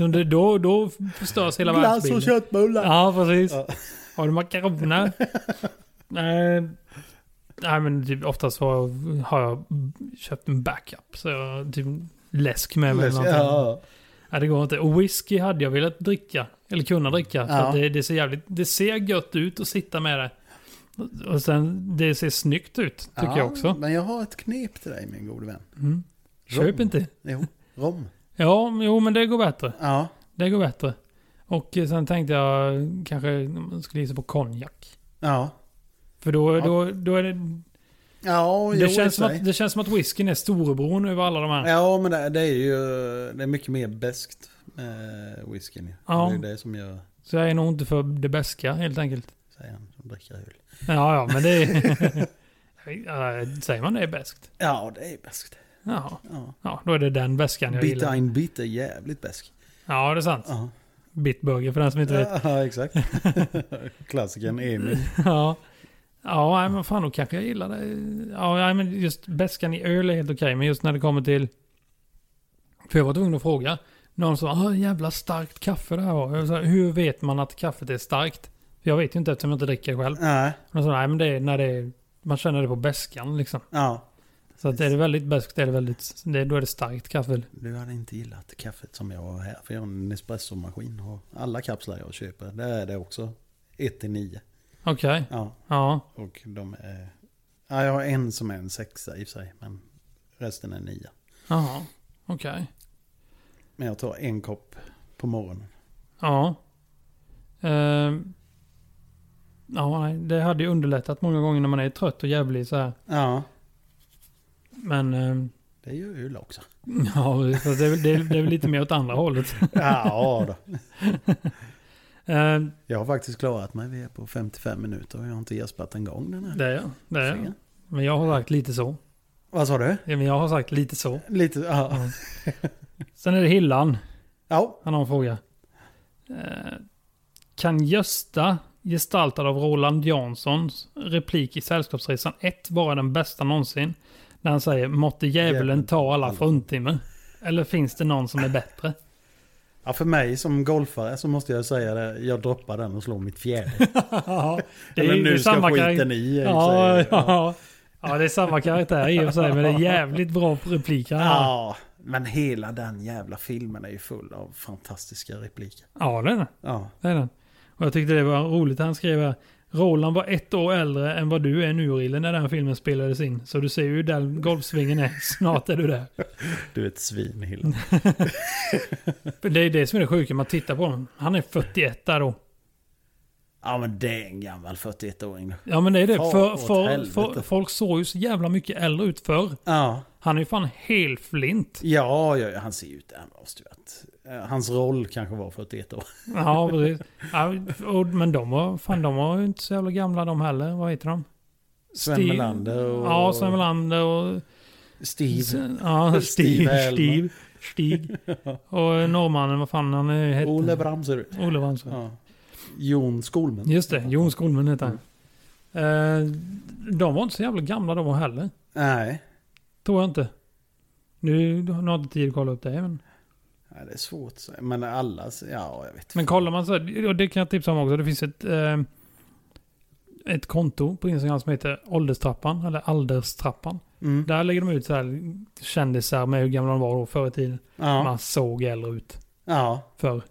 B: då, då, då förstörs hela
A: Glass och
B: världsbilden.
A: köttbullar.
B: Ja, precis.
A: Ja.
B: Har du makaroner? Nej. Nej, men typ oftast så har jag köpt en backup. Så jag typ läsk med mig.
A: Läsk-
B: eller någonting.
A: Ja.
B: Nej, det går inte. Och whisky hade jag velat dricka. Eller kunna dricka. För
A: Ja.
B: att det, det, ser jävligt, det ser gött ut att sitta med det. Och sen, det ser snyggt ut, tycker
A: Ja,
B: jag också.
A: Men jag har ett knep till dig min gode vän.
B: Mm. Köp
A: Rom.
B: inte.
A: Jo, rom.
B: Ja, jo, men det går bättre.
A: Ja.
B: Det går bättre. Och eh, sen tänkte jag kanske man skulle gissa på konjak.
A: Ja.
B: För då,
A: Ja.
B: då, då är det...
A: Ja, jo,
B: Det
A: i och
B: känns, som
A: för sig.
B: att, det känns som att whiskyn är storebror över alla de här.
A: Ja, men det, det är ju det är mycket mer beskt med whiskyn.
B: Ja.
A: Ja. Det är ju det som gör,
B: Så jag är nog inte för det bästa helt enkelt.
A: säger han, som dricker öl.
B: Ja, ja, men det är... Ja, Säger man det är beskt?
A: Ja, det är beskt.
B: Ja,
A: Ja.
B: ja, då är det den beskan jag
A: Bita
B: gillar.
A: in bit är jävligt besk.
B: Ja, det är sant.
A: Ja,
B: Bitburger för den som inte vet.
A: ja exakt. Klassikern Emil.
B: Ja, ja nej, men fan då kanske jag gillar det. Ja, nej, men just beskan i öl är helt okej, men just när det kommer till... För jag var tvungen att fråga. Någon sa ah, jävla starkt kaffe det här var. Jag sa, Hur vet man att kaffet är starkt? För jag vet ju inte eftersom jag inte dricker själv.
A: Nej,
B: Men så, nej, men det är när det är, man känner det på beskan liksom.
A: ja.
B: Så att är det väldigt beskt är det väldigt, det, då är det starkt kaffe.
A: Du hade inte gillat kaffet som jag har här. För jag har en Nespresso-maskin och alla kapslar jag köper, där är det också 1-9.
B: Okej,
A: Ja,
B: ja.
A: och de är... Ja, jag har en som är en sexa i och för sig, men resten är nia.
B: Jaha, okej.
A: Men jag tar en kopp på morgonen.
B: Ja. Ehm. ja, nej, det hade ju underlättat många gånger när man är trött och jävlig så här.
A: Ja,
B: Men ehm,
A: det är ju öl också.
B: ja, så det, är väl- det, är- det är väl lite mer åt andra hållet.
A: Ja då.
B: Ehm,
A: Jag har faktiskt klarat mig. Vi är på 55 minuter och jag har inte gäspat en gång den här.
B: det är jag. Det är jag.
A: Fan.
B: Men jag har sagt lite så.
A: Vad sa du?
B: Ja, men jag har sagt lite så.
A: Lite, ja.
B: Sen är det Hillan.
A: Ja,
B: Han har en fråga. Ehm, Eh, kan Gösta gestaltad av Roland Janssons replik i Sällskapsresan 1 vara den bästa någonsin. När han säger måtte djävulen ta alla fruntimmer. Eller finns det någon som är bättre?
A: Ja, för mig som golfare så måste jag säga det. Jag droppar den och slår mitt fjärde.
B: Ja,
A: Eller
B: ju-
A: nu ska
B: karaktär-
A: skiten i, i och för
B: Ja,
A: sig.
B: ja. ja, det är samma karaktär i och för sig, men det är jävligt bra repliker. Ja,
A: Ja, men hela den jävla filmen är ju full av fantastiska repliker.
B: ja det är det.
A: Ja,
B: det är den. Och jag tyckte det var roligt. Han skrev här. Roland var ett år äldre än vad du är nu, Rille, när den här filmen spelades in. Så du ser ju hur den golfsvingen är. Snart är du där.
A: du är ett svin Hilda.
B: För Det är det som är det sjuka, man tittar på honom. Han är 41 där då.
A: Ja, men det är en gammal 41-åring.
B: Ja men det är det.
A: Fan,
B: För,
A: åt
B: för,
A: helvete.
B: för, folk såg ju så jävla mycket äldre ut förr.
A: Ja,
B: Han är ju fan helflint.
A: ja, ja, ja, han ser ju ut... Han måste ju att, eh, hans roll kanske var 41 år.
B: Ja, precis. Ja, och, men de var, fan, de var ju inte så jävla gamla de heller. Vad heter de?
A: Sven
B: Steve-
A: Melander och...
B: Ja, Sven Melander och...
A: Steve.
B: Ja,
A: Steve
B: Steve.
A: Elmer.
B: Steve. Stig. Och norrmannen, vad fan han eh, hette?
A: Ole Bramserud.
B: Ole Brandsson.
A: Ja. Jon Skolmen.
B: Just det, Jon Skolmen hette han.
A: Mm.
B: Eh, de var inte så jävla gamla de heller.
A: Nej.
B: Tror jag inte. Nu, nu har jag inte tid att kolla upp det. Men,
A: Nej, det är svårt. att säga. Men alla... Ja, jag vet.
B: men kollar man så här, och det kan jag tipsa om också. Det finns ett, eh, ett konto på Instagram som heter Ålderstrappan, eller Alderstrappan.
A: Mm.
B: Där lägger de ut så här kändisar med hur gamla de var då förr i tiden.
A: Ja.
B: Man såg äldre ut
A: ja.
B: förr.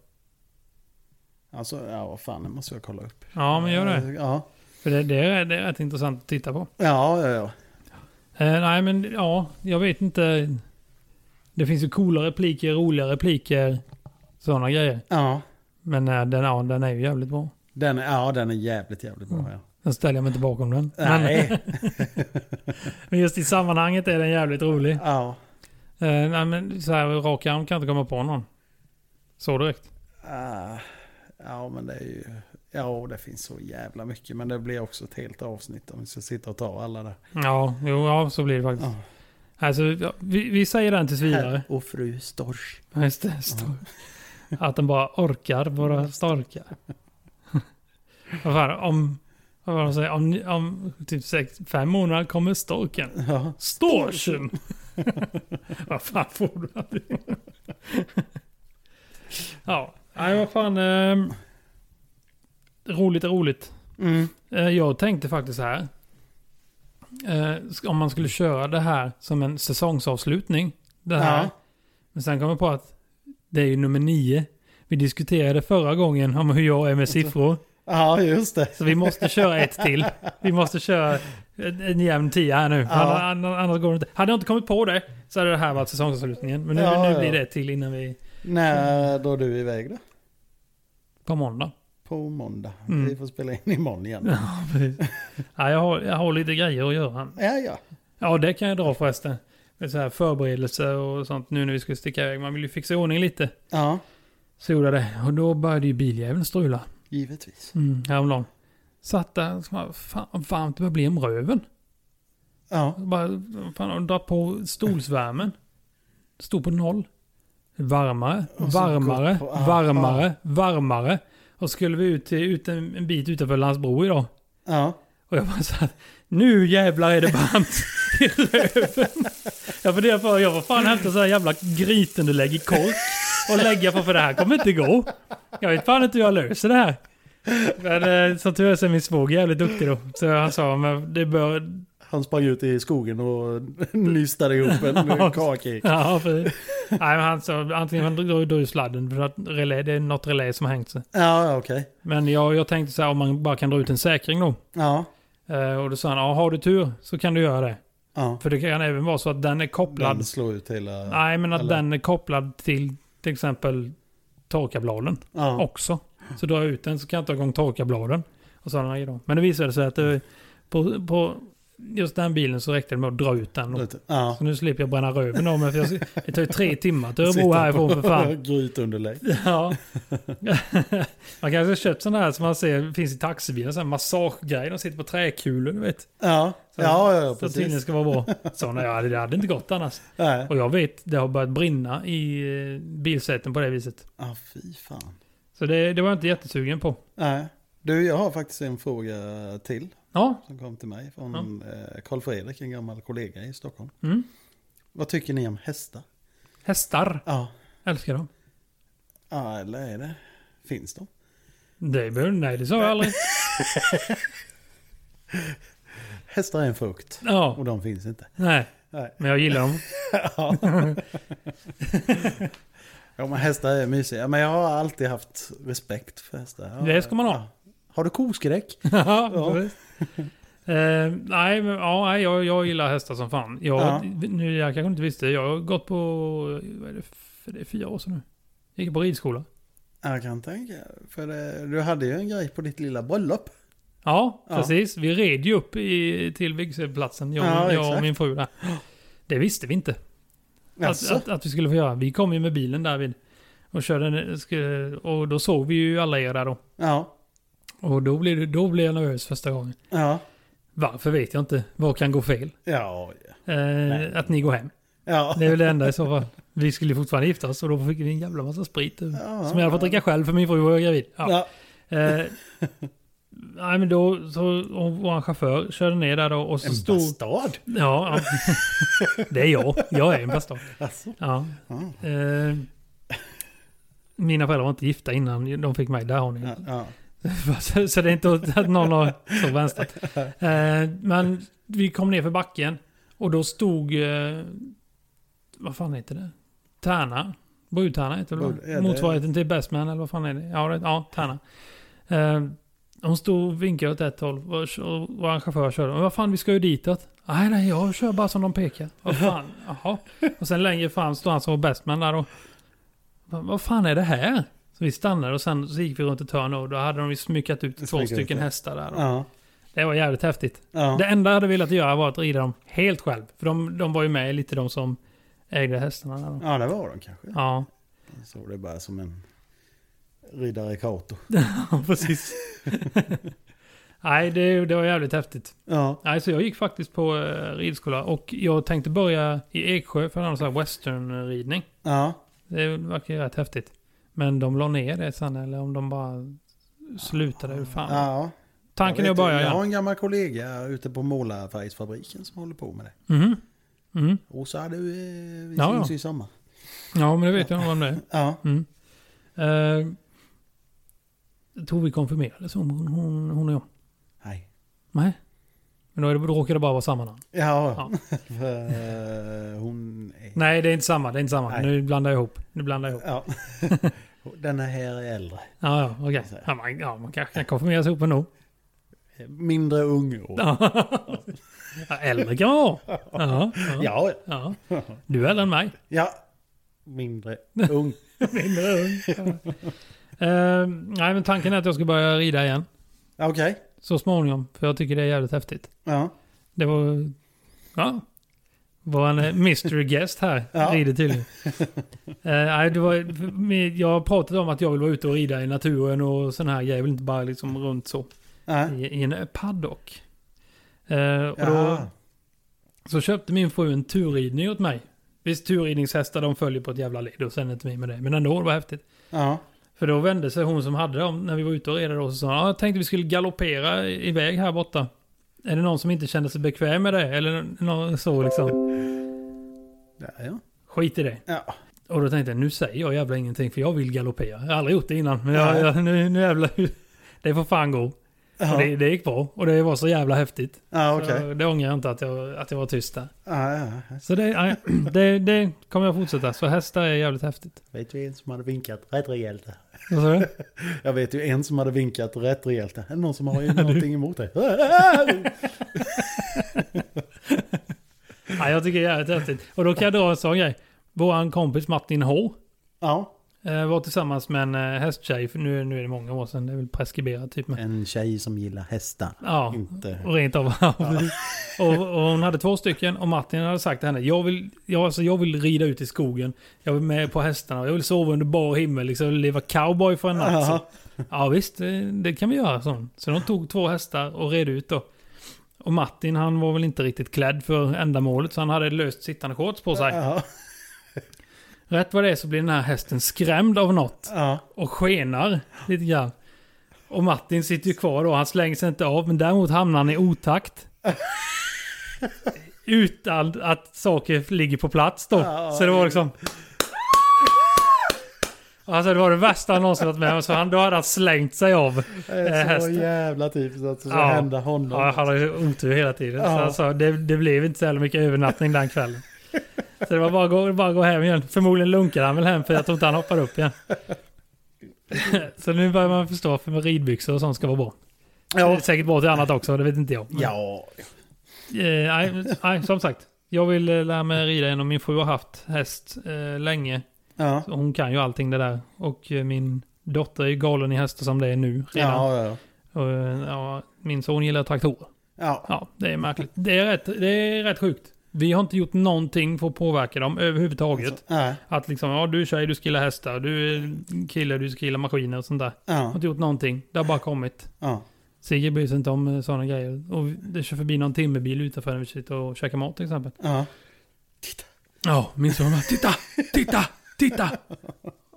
A: Alltså, ja, vad fan, det måste jag kolla upp.
B: Ja, men gör det.
A: Ja,
B: För det, det, är, det är rätt intressant att titta på.
A: ja, ja. ja.
B: Eh, nej, men ja, jag vet inte. Det finns ju coola repliker, roliga repliker, sådana grejer.
A: ja.
B: Men eh, den, ja, den är ju jävligt bra.
A: Den, är- ja, den är jävligt, jävligt bra. Ja.
B: Den ställer jag mig inte bakom den. Mm. Men,
A: Nej,
B: men just i sammanhanget är den jävligt rolig. Eh,
A: ja.
B: nej, men så här rak arm kan jag inte komma på någon. Så direkt.
A: Ah, Ja, men det är ju... Ja, det finns så jävla mycket. Men det blir också ett helt avsnitt om vi ska sitta och ta alla där.
B: Ja, jo, ja så blir det faktiskt.
A: Ja.
B: Alltså, ja, vi, vi säger den tills vidare.
A: Herr och fru Storch.
B: Ja, Just det, stor. Att den bara orkar vara starka. vad fan, om... Vad var det de säger? Om, om typ sex, fem månader kommer storken.
A: Ja.
B: Storchen! vad fan får du av det? Ja, nej vad fan. ehm, roligt är roligt.
A: Mm.
B: Eh, jag tänkte faktiskt här. Eh, om man skulle köra det här som en säsongsavslutning. Det här.
A: Ja.
B: Men sen kom jag på att det är ju nummer nio. Vi diskuterade förra gången om hur jag är med siffror.
A: ja, just det.
B: Så vi måste köra ett till. Vi måste köra en, en jämn tia här nu. Annars, annars- annars går det inte. Hade jag inte kommit på det så hade det här varit säsongsavslutningen. Men nu,
A: Ja,
B: nu
A: ja.
B: blir det ett till innan vi...
A: När drar du iväg då?
B: På måndag.
A: På måndag.
B: Mm.
A: Vi får spela in imorgon igen.
B: Ja, precis. Ja, jag, har, jag har lite grejer att göra.
A: Ja, ja. Ja,
B: Ja, det kan jag dra förresten. Med så här förberedelser och sånt nu när vi skulle sticka iväg. Man vill ju fixa i ordning lite.
A: ja
B: Så gjorde jag det. Och då började ju biljäveln strula.
A: givetvis.
B: Mm, häromdagen. Satt där och så bara, fan vad varmt det börjar bli om röven.
A: Ja.
B: Bara, fan, och dra på stolsvärmen. Stod på noll. Varmare,
A: Och så
B: varmare,
A: gå på- ah,
B: varmare, varmare. Och skulle vi ut, till- ut en, en bit utanför Landsbro idag.
A: Ja.
B: Och jag bara så här, nu jävlar är det varmt i röven. Jag funderar på, jag var fan hämta så här jävla grytunderlägg i kork och lägga på för det här kommer inte gå. Jag vet fan inte hur jag löser det här. Men eh, som tur är så är min svåger jävligt duktig då. Så han sa, men det bör...
A: Han sprang ut i skogen och nystade ihop en kake.
B: Ja, för... Nej, men han sa, antingen han drar drar ju sladden för att relä, det är något relä som har hängt sig.
A: Ja, ja, okej.
B: Men jag, jag tänkte så här, om man bara kan dra ut en säkring då.
A: Ja.
B: Eh, Och då sa han, ja, har du tur så kan du göra det.
A: ja.
B: För det kan även vara så att den är kopplad
A: Den slår ut hela...
B: Nej, men att
A: Eller?
B: den är kopplad till till exempel torkarbladen
A: Ja.
B: också. Så drar jag ut den så kan jag ta igång torkarbladen. Och sådana grejer då. Men det visade sig att
A: Mm.
B: det, på, på just den bilen så räckte det med att dra ut den. Då.
A: Ja.
B: Så nu slipper jag bränna röven av mig. För jag, det tar ju tre timmar till Örebro
A: Sitta
B: härifrån för
A: på
B: fan.
A: Grytunderlägg.
B: Ja. Man kanske har köpt sådana här som man ser finns i taxibilar. Sådana massagegrejer. De sitter på träkulor, du vet.
A: Ja, ja, ja, ja
B: Så tydligen
A: precis.
B: ska vara bra. Sådana, ja, det hade inte gått annars.
A: Nej.
B: Och jag vet, det har börjat brinna i eh, bilsäten på det viset.
A: Ja, fy fan.
B: Så det, det var jag inte jättesugen på.
A: Nej. Du, jag har faktiskt en fråga till
B: Ja,
A: som kom till mig från eh, Carl Fredrik, en gammal kollega i Stockholm.
B: Mm.
A: Vad tycker ni om hästar?
B: hästar.
A: Ja.
B: Älskar dem.
A: ja, eller är det? Finns de?
B: Det behöver Nej, det sa jag aldrig.
A: Hästar är en frukt
B: Ja,
A: och de finns inte.
B: nej.
A: Nej.
B: Men jag gillar dem.
A: Ja. ja, men hästar är mysiga. Men jag har alltid haft respekt för hästar. Ja,
B: Det ska man ha.
A: ja. Har du koskräck?
B: ja,
A: Ja.
B: visst. Eh, nej, men ja, nej, jag, jag gillar hästar som fan. Jag,
A: Ja.
B: nu, jag kanske inte visste, jag har gått på, vad är det, för det är fyra år sedan nu. Jag gick på ridskola.
A: Jag kan tänka. För det, du hade ju en grej på ditt lilla bröllop.
B: Ja,
A: Ja.
B: precis. Vi red ju upp i, till vigselplatsen, jag,
A: Ja,
B: jag och
A: exakt.
B: min fru där. Det visste vi inte att,
A: Alltså,
B: att, att vi skulle få göra. Vi kom ju med bilen där vid och körde, en- skulle- och då såg vi ju alla er där då.
A: ja.
B: Och då blev, det- då blev jag nervös första gången.
A: Ja.
B: Varför vet jag inte. Vad kan gå fel?
A: Ja.
B: Eh, att ni går hem.
A: Ja.
B: Det är väl det enda i så fall. Vi skulle ju fortfarande gifta oss och då fick vi en jävla massa sprit. eh,
A: Ja,
B: som jag hade fått
A: ja.
B: dricka själv för min fru var ju gravid. Ja.
A: Ja.
B: Eh, nej men då, så och vår chaufför körde ner där då och så
A: En
B: stod...
A: bastard?
B: Ja, ja. det är jag. Jag är en bastard.
A: Alltså.
B: Ja.
A: Ja.
B: Eh, mina föräldrar var inte gifta innan de fick mig. Där har ni.
A: Ja, ja.
B: så, så det är inte att någon har så vänstrat. Eh, men vi kom ner för backen och då stod... Eh, vad fan heter det? Tärna. Brudtärna heter det
A: Brud- ja, det-
B: väl? Motsvarigheten till Bestman eller vad fan är det? Ja, det, ja Tärna. Eh, hon stod och vinkade åt ett håll och kö- och vår chaufför körde. Men vad fan, vi ska ju ditåt. Nej, nej, jag kör bara som de pekar. Vad fan, jaha. Och sen längre fram står han som var Bestman där då. Vad, vad fan är det här? Så vi stannade och sen så gick vi runt ett hörn och då hade de ju smyckat ut två
A: Smyckat ut,
B: stycken
A: ja.
B: hästar där. då.
A: Ja.
B: Det var jävligt häftigt.
A: Ja.
B: Det enda jag hade velat göra var att rida dem helt själv. För de, de var ju med lite de som ägde hästarna. Där. då.
A: ja, det var de kanske.
B: Ja,
A: Så det är bara som en riddare i Kato.
B: precis. Nej, det, det var jävligt häftigt.
A: Ja.
B: Nej, så jag gick faktiskt på eh, ridskola och jag tänkte börja i Eksjö för en sån här westernridning.
A: Ja.
B: Det verkar ju rätt häftigt. Men de la ner det sen eller om de bara slutade. Hur fan.
A: ja.
B: Tanken är
A: Jag
B: att
A: vet
B: börja
A: ju, Jag har
B: igen.
A: en gammal kollega ute på målarfärgsfabriken som håller på med det.
B: Mhm. Mm.
A: Åsa, du, eh, vi
B: Ja,
A: syns
B: ja.
A: i sommar.
B: Ja, men det vet jag nog om det är.
A: Ja.
B: Mm. Eh, jag tror vi konfirmerades hon, hon, hon, hon och jag.
A: Hej.
B: Nej. Men då, är det, då råkar det bara vara samma namn.
A: Ja,
B: Ja.
A: för, eh, hon är...
B: Nej, det är inte samma. Det är inte samma.
A: Nej.
B: Nu blandar jag ihop. Nu blandar jag ihop.
A: Ja. Den här är äldre.
B: Ja, ja, okej. Ja, man, ja, man kanske kan konfirmeras ihop ändå.
A: Mindre ung. och-
B: Ja. Äldre kan man vara. Ja, ja,
A: Ja,
B: ja. Du är äldre än mig.
A: ja. Mindre ung.
B: Mindre ung. Eh, nej, men tanken är att jag ska börja rida igen.
A: Ja, Okej.
B: Så småningom. För jag tycker det är jävligt häftigt.
A: Ja.
B: Det var... Ja. Var en eh, mystery guest här.
A: Ja.
B: Rider tydligen. Eh, nej, det var, jag har pratat om att jag vill vara ute och rida i naturen och sån här grejer. Jag vill inte bara liksom runt så.
A: Ja.
B: I, i en paddock. Eh, Mm. och då,
A: Ja.
B: så köpte min fru en turridning åt mig. Visst, turridningshästar de följer på ett jävla led och sen är inte vi med det. Men ändå, det var häftigt.
A: Ja.
B: För då vände sig hon som hade dem när vi var ute och red och så sa hon, "Ja, jag tänkte vi skulle galoppera iväg här borta. Är det någon som inte känner sig bekväm med det? Eller någon så liksom.
A: Där, ja.
B: Skit i det.
A: Ja.
B: Och då tänkte jag, nu säger jag jävla ingenting för jag vill galoppera. Jag har aldrig gjort det innan. Men jag,
A: Nej.
B: jag, nu, nu jävla... Det får fan gå. Och det,
A: Ja.
B: det gick bra. Och det var så jävla häftigt.
A: Ja,
B: Så
A: okej.
B: Det ångrar jag inte att jag, att jag var tyst där.
A: Ja, ja, ja.
B: Så det, nej, det, det kommer jag fortsätta. Så hästar är jävligt häftigt.
A: Vet du en som hade vinkat rätt rejält där?
B: Vad sa du?
A: Jag vet ju en som hade vinkat rätt rejält. Är det någon som har ju någonting emot dig?
B: Nej, jag tycker det är jävligt häftigt. Och då kan jag dra en sån grej. Vår kompis Martin H.
A: ja.
B: eh, Var tillsammans med en eh, hästtjej, för nu, nu är det många år sedan, det är väl preskriberat typ. Men,
A: En tjej som gillar hästar.
B: ja,
A: Inte.
B: och rent av. och, och hon hade två stycken och Martin hade sagt till henne, jag vill, jag, alltså, jag vill rida ut i skogen, jag vill med på hästarna, jag vill sova under bar himmel, liksom, jag vill leva cowboy för en natt. Så,
A: Ja.
B: ja visst, det, det kan vi göra. Så. så de tog två hästar och red ut då. Och Martin han var väl inte riktigt klädd för ändamålet så han hade löst sittande shorts på sig.
A: Ja.
B: Rätt vad det är så blir den här hästen skrämd av något
A: Ja.
B: och skenar lite grann. Och Martin sitter ju kvar då. Han slänger sig inte av. Men däremot hamnar han i otakt. Utan att saker ligger på plats då. Så det var liksom... Alltså det var det värsta han någonsin varit med om. Så han, då hade han slängt sig av.
A: Det
B: Eh,
A: är så
B: hästen.
A: jävla typiskt att det ska
B: Ja.
A: hända honom.
B: Ja, han har ju otur hela tiden. Så
A: Ja.
B: alltså, det, det blev inte så jävla mycket övernattning den kvällen. Så det var bara att gå, bara att gå hem igen. Förmodligen lunkade han väl hem för jag tror inte han hoppar upp igen. Så nu börjar man förstå varför med ridbyxor och sånt ska vara bra. Det är
A: ja.
B: säkert bra till annat också, det vet inte jag. Men,
A: ja.
B: eh, nej, nej, som sagt. Jag vill eh, lära mig rida igen och min fru har haft häst eh, länge.
A: Ja.
B: Så Hon kan ju allting det där. Och eh, min dotter är galen i hästar som det är nu redan.
A: Ja, ja.
B: Och, eh, ja, min son gillar traktorer.
A: ja.
B: Ja, det är märkligt. Det är rätt, det är rätt sjukt. Vi har inte gjort någonting för att påverka dem överhuvudtaget.
A: Nej.
B: Att liksom, ja du är tjej, du ska gilla hästar, du är kille, du ska gilla maskiner och sånt där. Har
A: Ja.
B: inte gjort någonting. Det har bara kommit.
A: Ja.
B: Sigge bryr sig inte om sådana grejer. Och det kör förbi någon timmerbil utanför när vi sitter och käkar mat till exempel.
A: Ja.
B: Ja, min son bara, titta, titta, titta!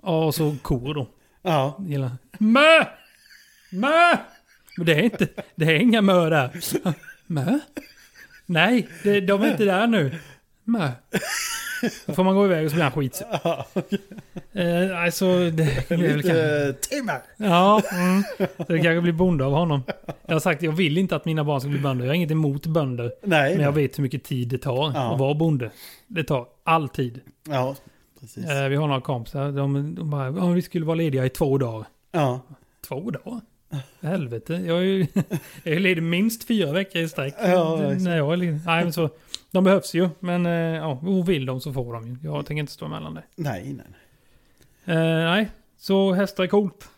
B: Ja, och så kor då.
A: Ja.
B: Gillar. Mö! Mö! Men det är inte, det är inga mö där. Mö? Nej, det, de är inte där nu. Mö. Då får man gå iväg och så blir han skitsur. Eh, alltså, det, det är väl kanske...
A: Lite timmar.
B: Ja, mm. Så det kanske blir bonde av honom. Jag har sagt, jag vill inte att mina barn ska bli bönder. Jag har inget emot bönder.
A: Nej.
B: Men jag vet hur mycket tid det tar
A: Ja.
B: att vara bonde. Det tar all tid.
A: Ja, precis.
B: Eh, vi har några kompisar, de, de bara, "Ja, vi skulle vara lediga i två dagar.
A: Ja.
B: Två dagar? Helvete. Jag är ju jag är ledig minst fyra veckor i sträck.
A: Ja, exakt.
B: Nej, jag är ledig. Nej, men så, de behövs ju, men eh, ja, och vill de så får de ju. Jag tänker inte stå emellan det.
A: Nej, nej. nej.
B: Eh, nej, så hästar är coolt.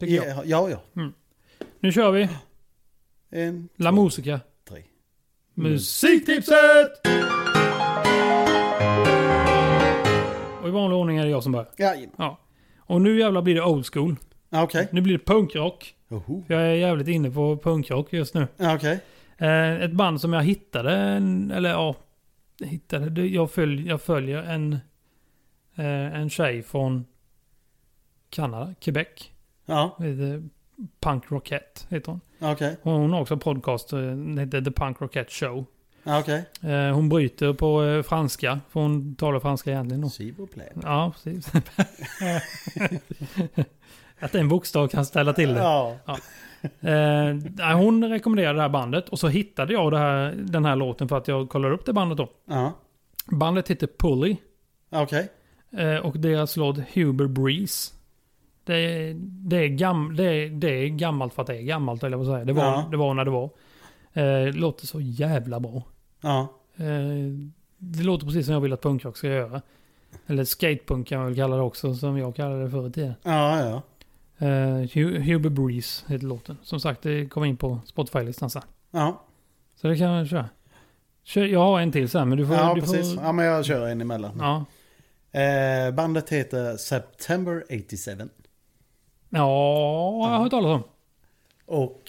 B: Tycker jag.
A: Ja, ja. ja.
B: Nu kör vi.
A: En,
B: La Musica.
A: tre.
B: Musiktipset! Och i vanlig ordning är det jag som börjar.
A: Ja, jajamän.
B: Ja. Och nu jävlar blir det old school.
A: Ja, okej.
B: Nu blir det punkrock.
A: Oho.
B: Jag är jävligt inne på punkrock just nu.
A: Ja, okej.
B: Eh, ett band som jag hittade, en- eller ja, hittade, det- jag, följ, jag följer en, eh, en tjej från Kanada, Quebec.
A: Ja,
B: Heter Punk Rockette heter hon.
A: ja, okej.
B: Hon har också en podcast, eh, den heter The Punk Rockette Show.
A: Ja, okej.
B: Eh, hon bryter på eh, franska, för hon talar franska egentligen. Då.
A: Sivo play.
B: Ja, precis. Att en bokstav kan ställa till det.
A: Ja.
B: Eh, nej, hon rekommenderade det här bandet och så hittade jag det här, den här låten för att jag kollade upp det bandet då.
A: Ja,
B: Bandet heter Pulley
A: ja, okej.
B: eh, och deras låt Huber Breeze. Det, är- det, är gam, det, är- det är gammalt för att det är gammalt, eller vad säger det var,
A: Ja.
B: det var när det var. Eh, låter så jävla bra.
A: Ja,
B: Eh, det låter precis som jag vill att punkrock ska göra. Eller skatepunk kan man väl kalla det också, som jag kallade det förr i tiden.
A: ja, ja.
B: Eh, Hu- Huber Breeze heter låten. Som sagt, det kom in på Spotify-listan sen.
A: Ja,
B: Så det kan jag köra. Kör, jag har en till sen, men du får...
A: ja
B: du
A: precis.
B: Får,
A: Ja, men jag kör en emellan.
B: ja.
A: Eh, bandet heter September 87.
B: ja, jag har hört talas om.
A: Och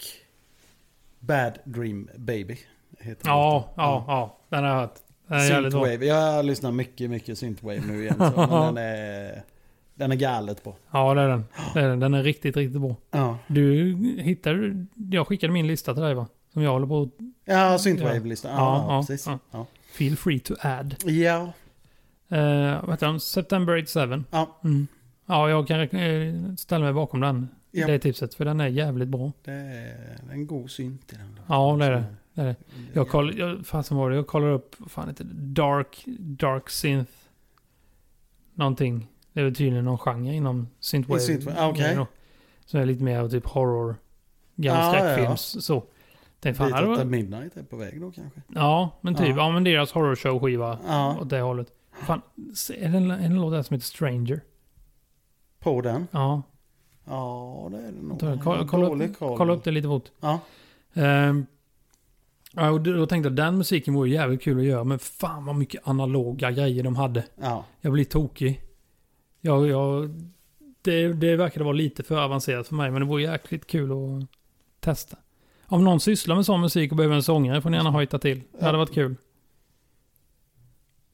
A: Bad Dream Baby heter
B: Ja, ja, ja. Den har jag hört. Den är jävligt bra.
A: Synthwave. Jag lyssnar mycket, mycket synthwave nu igen. Så, men den är, den är galet bra.
B: Ja, det är den. Det är den. Den är riktigt, riktigt bra.
A: Ja,
B: Du hittade... du- Jag skickade min lista till dig va? Som jag håller på att...
A: ja synthwave-lyssnar. Ja,
B: Ja,
A: ja,
B: ja,
A: precis.
B: ja.
A: Ja.
B: Feel free to add.
A: Ja,
B: Eh, vad heter den? September 87.
A: Ja.
B: Mm. Ja, jag kan eh, ställa mig bakom den.
A: Ja.
B: Det tipset, för den är jävligt bra.
A: det är en god synt i den. låten.
B: Ja, det är det. det, är det. Jag kollade, jag, fan som var det, jag kollade upp, vad fan heter det? Dark, dark synth. Någonting. Det är väl tydligen någon genre inom synthwave.
A: I synthwave, ah, okej.
B: grejer då. Som är lite mer av typ horror, gamla
A: Ah, ja, ja.
B: skräckfilms så. Tänkte, fan,
A: Dit
B: det
A: att
B: var,
A: Midnight är på väg då kanske.
B: ja, men typ.
A: Ja.
B: Ja, men deras horrorshow-skiva
A: Ja,
B: åt det hållet. Fan, se- är det en, en låt där som heter Stranger?
A: på den.
B: Ja,
A: Ja, det är det nog.
B: kolla, kolla, kolla,
A: Dålig
B: upp,
A: koll.
B: kolla upp det lite fort.
A: Ja,
B: Ehm, ja, och då tänkte jag den musiken vore jävligt kul att göra, men fan vad mycket analoga grejer de hade.
A: ja,
B: Jag blir tokig. Jag, jag, det, det verkade vara lite för avancerat för mig, men det vore jäkligt kul att testa. Om någon sysslar med sån musik och behöver en sångare får ni gärna hojta till. Det hade varit kul.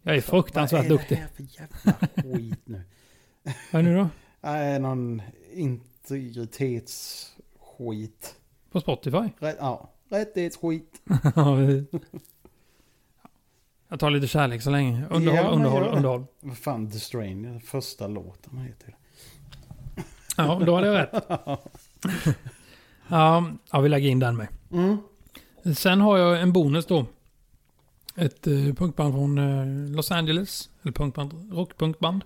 B: Jag är fruktansvärt
A: Vad är det
B: duktig.
A: här för jävla skit nu?
B: Vad är det nu då?
A: Nej, någon integritetsskit
D: Skit.
B: På Spotify.
D: Rä- ja, rättighetsskit.
B: jag tar lite kärlek så länge. Underhåll,
D: Ja, men
B: underhåll,
D: gör det.
B: underhåll.
A: Vad fan, The Strain, första låten vad heter det.
B: Ja, då hade jag rätt. Ja, ja vi lägger in den med.
A: Mm.
B: Sen har jag en bonus då. Ett eh, punkband från eh, Los Angeles. Eller punkband, rockpunkband.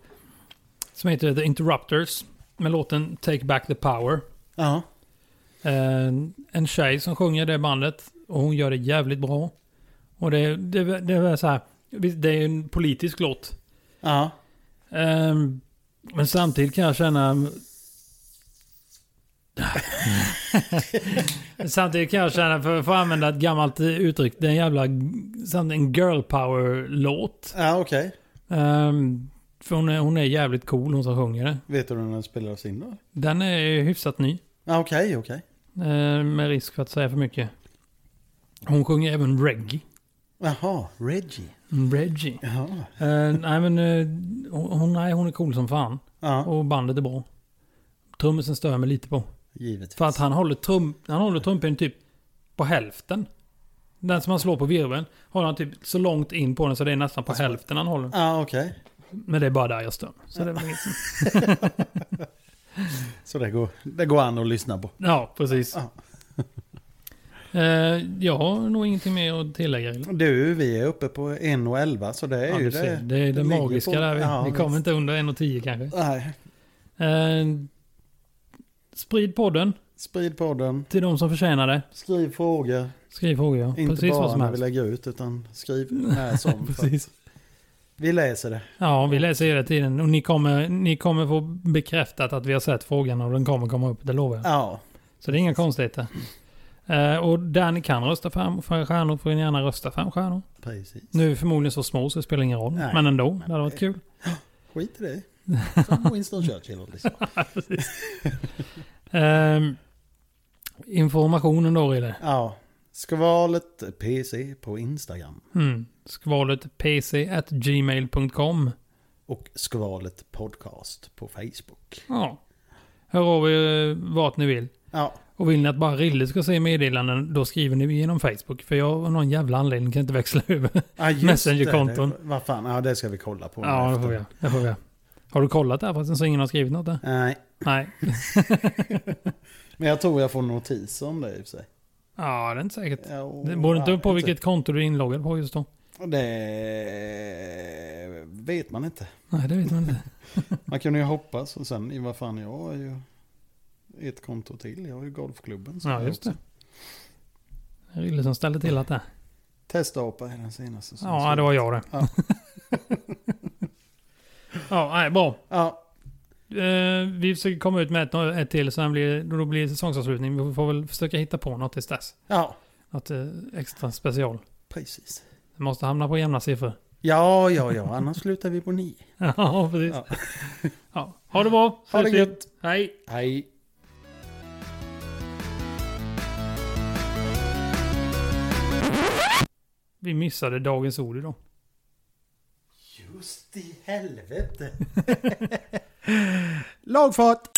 B: Som heter The Interrupters. Med låten Take Back The Power.
A: Ja.
B: Eh, en tjej som sjunger det bandet. Och hon gör det jävligt bra. Och det, det, det är så här. visst, Det är en politisk låt.
A: Ja.
B: Ehm, men samtidigt kan jag känna... samtidigt kan jag känna, för, för att använda ett gammalt eh, uttryck, det är en jävla samt en girl power-låt.
A: Ja, okej.
B: Ehm, för hon är, hon är jävligt cool, hon som sjunger det.
A: Vet du när den spelades in då?
B: Den är hyfsat ny,
A: Ja, okej, okej.
B: eh, med risk för att säga för mycket. Hon sjunger även reggae.
A: Jaha, Reggie.
B: Reggie.
A: Ja.
B: Eh, nej men eh, hon, hon- nej, hon är cool som fan.
A: Ja,
B: Och bandet är bra. Trummisen stör jag mig lite på.
A: givetvis.
B: För att han håller, trum, han håller trumpen typ på hälften. Den som han slår på virveln håller han typ så långt in på den så det är nästan på hälften han håller.
A: Ja, okej.
B: Men det är bara där jag stör mig. Så det är väl inget-
A: Så det går, det går an att lyssna på.
B: Ja, precis.
A: Ja.
B: Eh, Jag har nog ingenting mer att tillägga. eller?
A: Du, vi är uppe på 1 och 11 så det är
B: Ja,
A: ju
B: du
A: det.
B: ser, det är det,
A: ligger
B: magiska
A: på-
B: där. Vi,
A: Ja,
B: vi kommer
A: visst.
B: inte under 1,10 kanske.
A: Nej,
B: Eh, sprid podden
A: sprid podden.
B: till de som förtjänar det.
A: Skriv frågor.
B: Skriv frågor. ja.
A: Inte
B: Precis vad
A: bara
B: som
A: när vi
B: helst.
A: lägger ut utan skriv med som. för
B: Precis.
A: Vi läser det.
B: Ja, vi läser hela tiden och ni kommer, ni kommer få bekräftat att vi har sett frågan och den kommer komma upp, det lovar jag.
A: Ja,
B: Så det är inga konstigheter. Eh, och där ni kan rösta fram för stjärnor får ni gärna rösta fram stjärnor.
A: precis.
B: Nu är vi förmodligen så små så det spelar ingen roll,
A: Nej.
B: men ändå, det hade varit kul.
A: Skit i det. Som Winston Churchill. Liksom.
B: Ehm, informationen då, Rille.
A: Ja. Skvalet PC på Instagram.
B: Mm. Skvalet gmail.com.
A: Och skvalet podcast på Facebook.
B: Ja. Hör av er vart ni vill.
A: Ja,
B: Och vill ni att bara Rille ska se meddelanden, då skriver ni genom Facebook. För jag av någon jävla anledning kan inte växla över.
A: ja just
B: Messenger-konton.
A: det. Det- Vad fan, ja det ska vi kolla på.
B: Ja, det
A: efter.
B: får vi göra. Det får vi göra. Har du kollat där förresten så ingen har skrivit något där?
A: Nej,
B: Nej.
A: men jag tror jag får notis om det i och för sig.
B: Ja, det är inte säkert.
A: Ja, och-
B: Det beror
A: ja,
B: inte på
A: inte.
B: vilket konto du är inloggad på just då.
A: Det vet man inte.
B: Nej, det vet man inte.
A: Man kunde ju hoppas och sen, i vad fan, jag har ju ett konto till. Jag har ju golfklubben. som
B: Ja,
A: jag
B: just
A: också-
B: det. Det är Rille som ställde till att det.
A: Testapa är den senaste. som
B: Ja,
A: jag
B: det var jag det.
A: Ja.
B: Ja, nej, bra.
A: Ja,
B: Eh, Vi försöker komma ut med ett, ett till, sen blir, då blir det säsongsavslutning. Vi får väl försöka hitta på något tills dess.
A: ja,
B: Något eh, extra special.
A: precis.
B: Det måste hamna på jämna siffror.
A: Ja, ja, ja, annars slutar vi på nio.
B: Ja, precis.
A: Ja.
B: Ja. Ha det bra.
A: Ha det
B: Ses vi.
A: gött.
B: Hej.
A: Hej.
B: Vi missade dagens ord idag.
A: Just i helvete. Lagfart.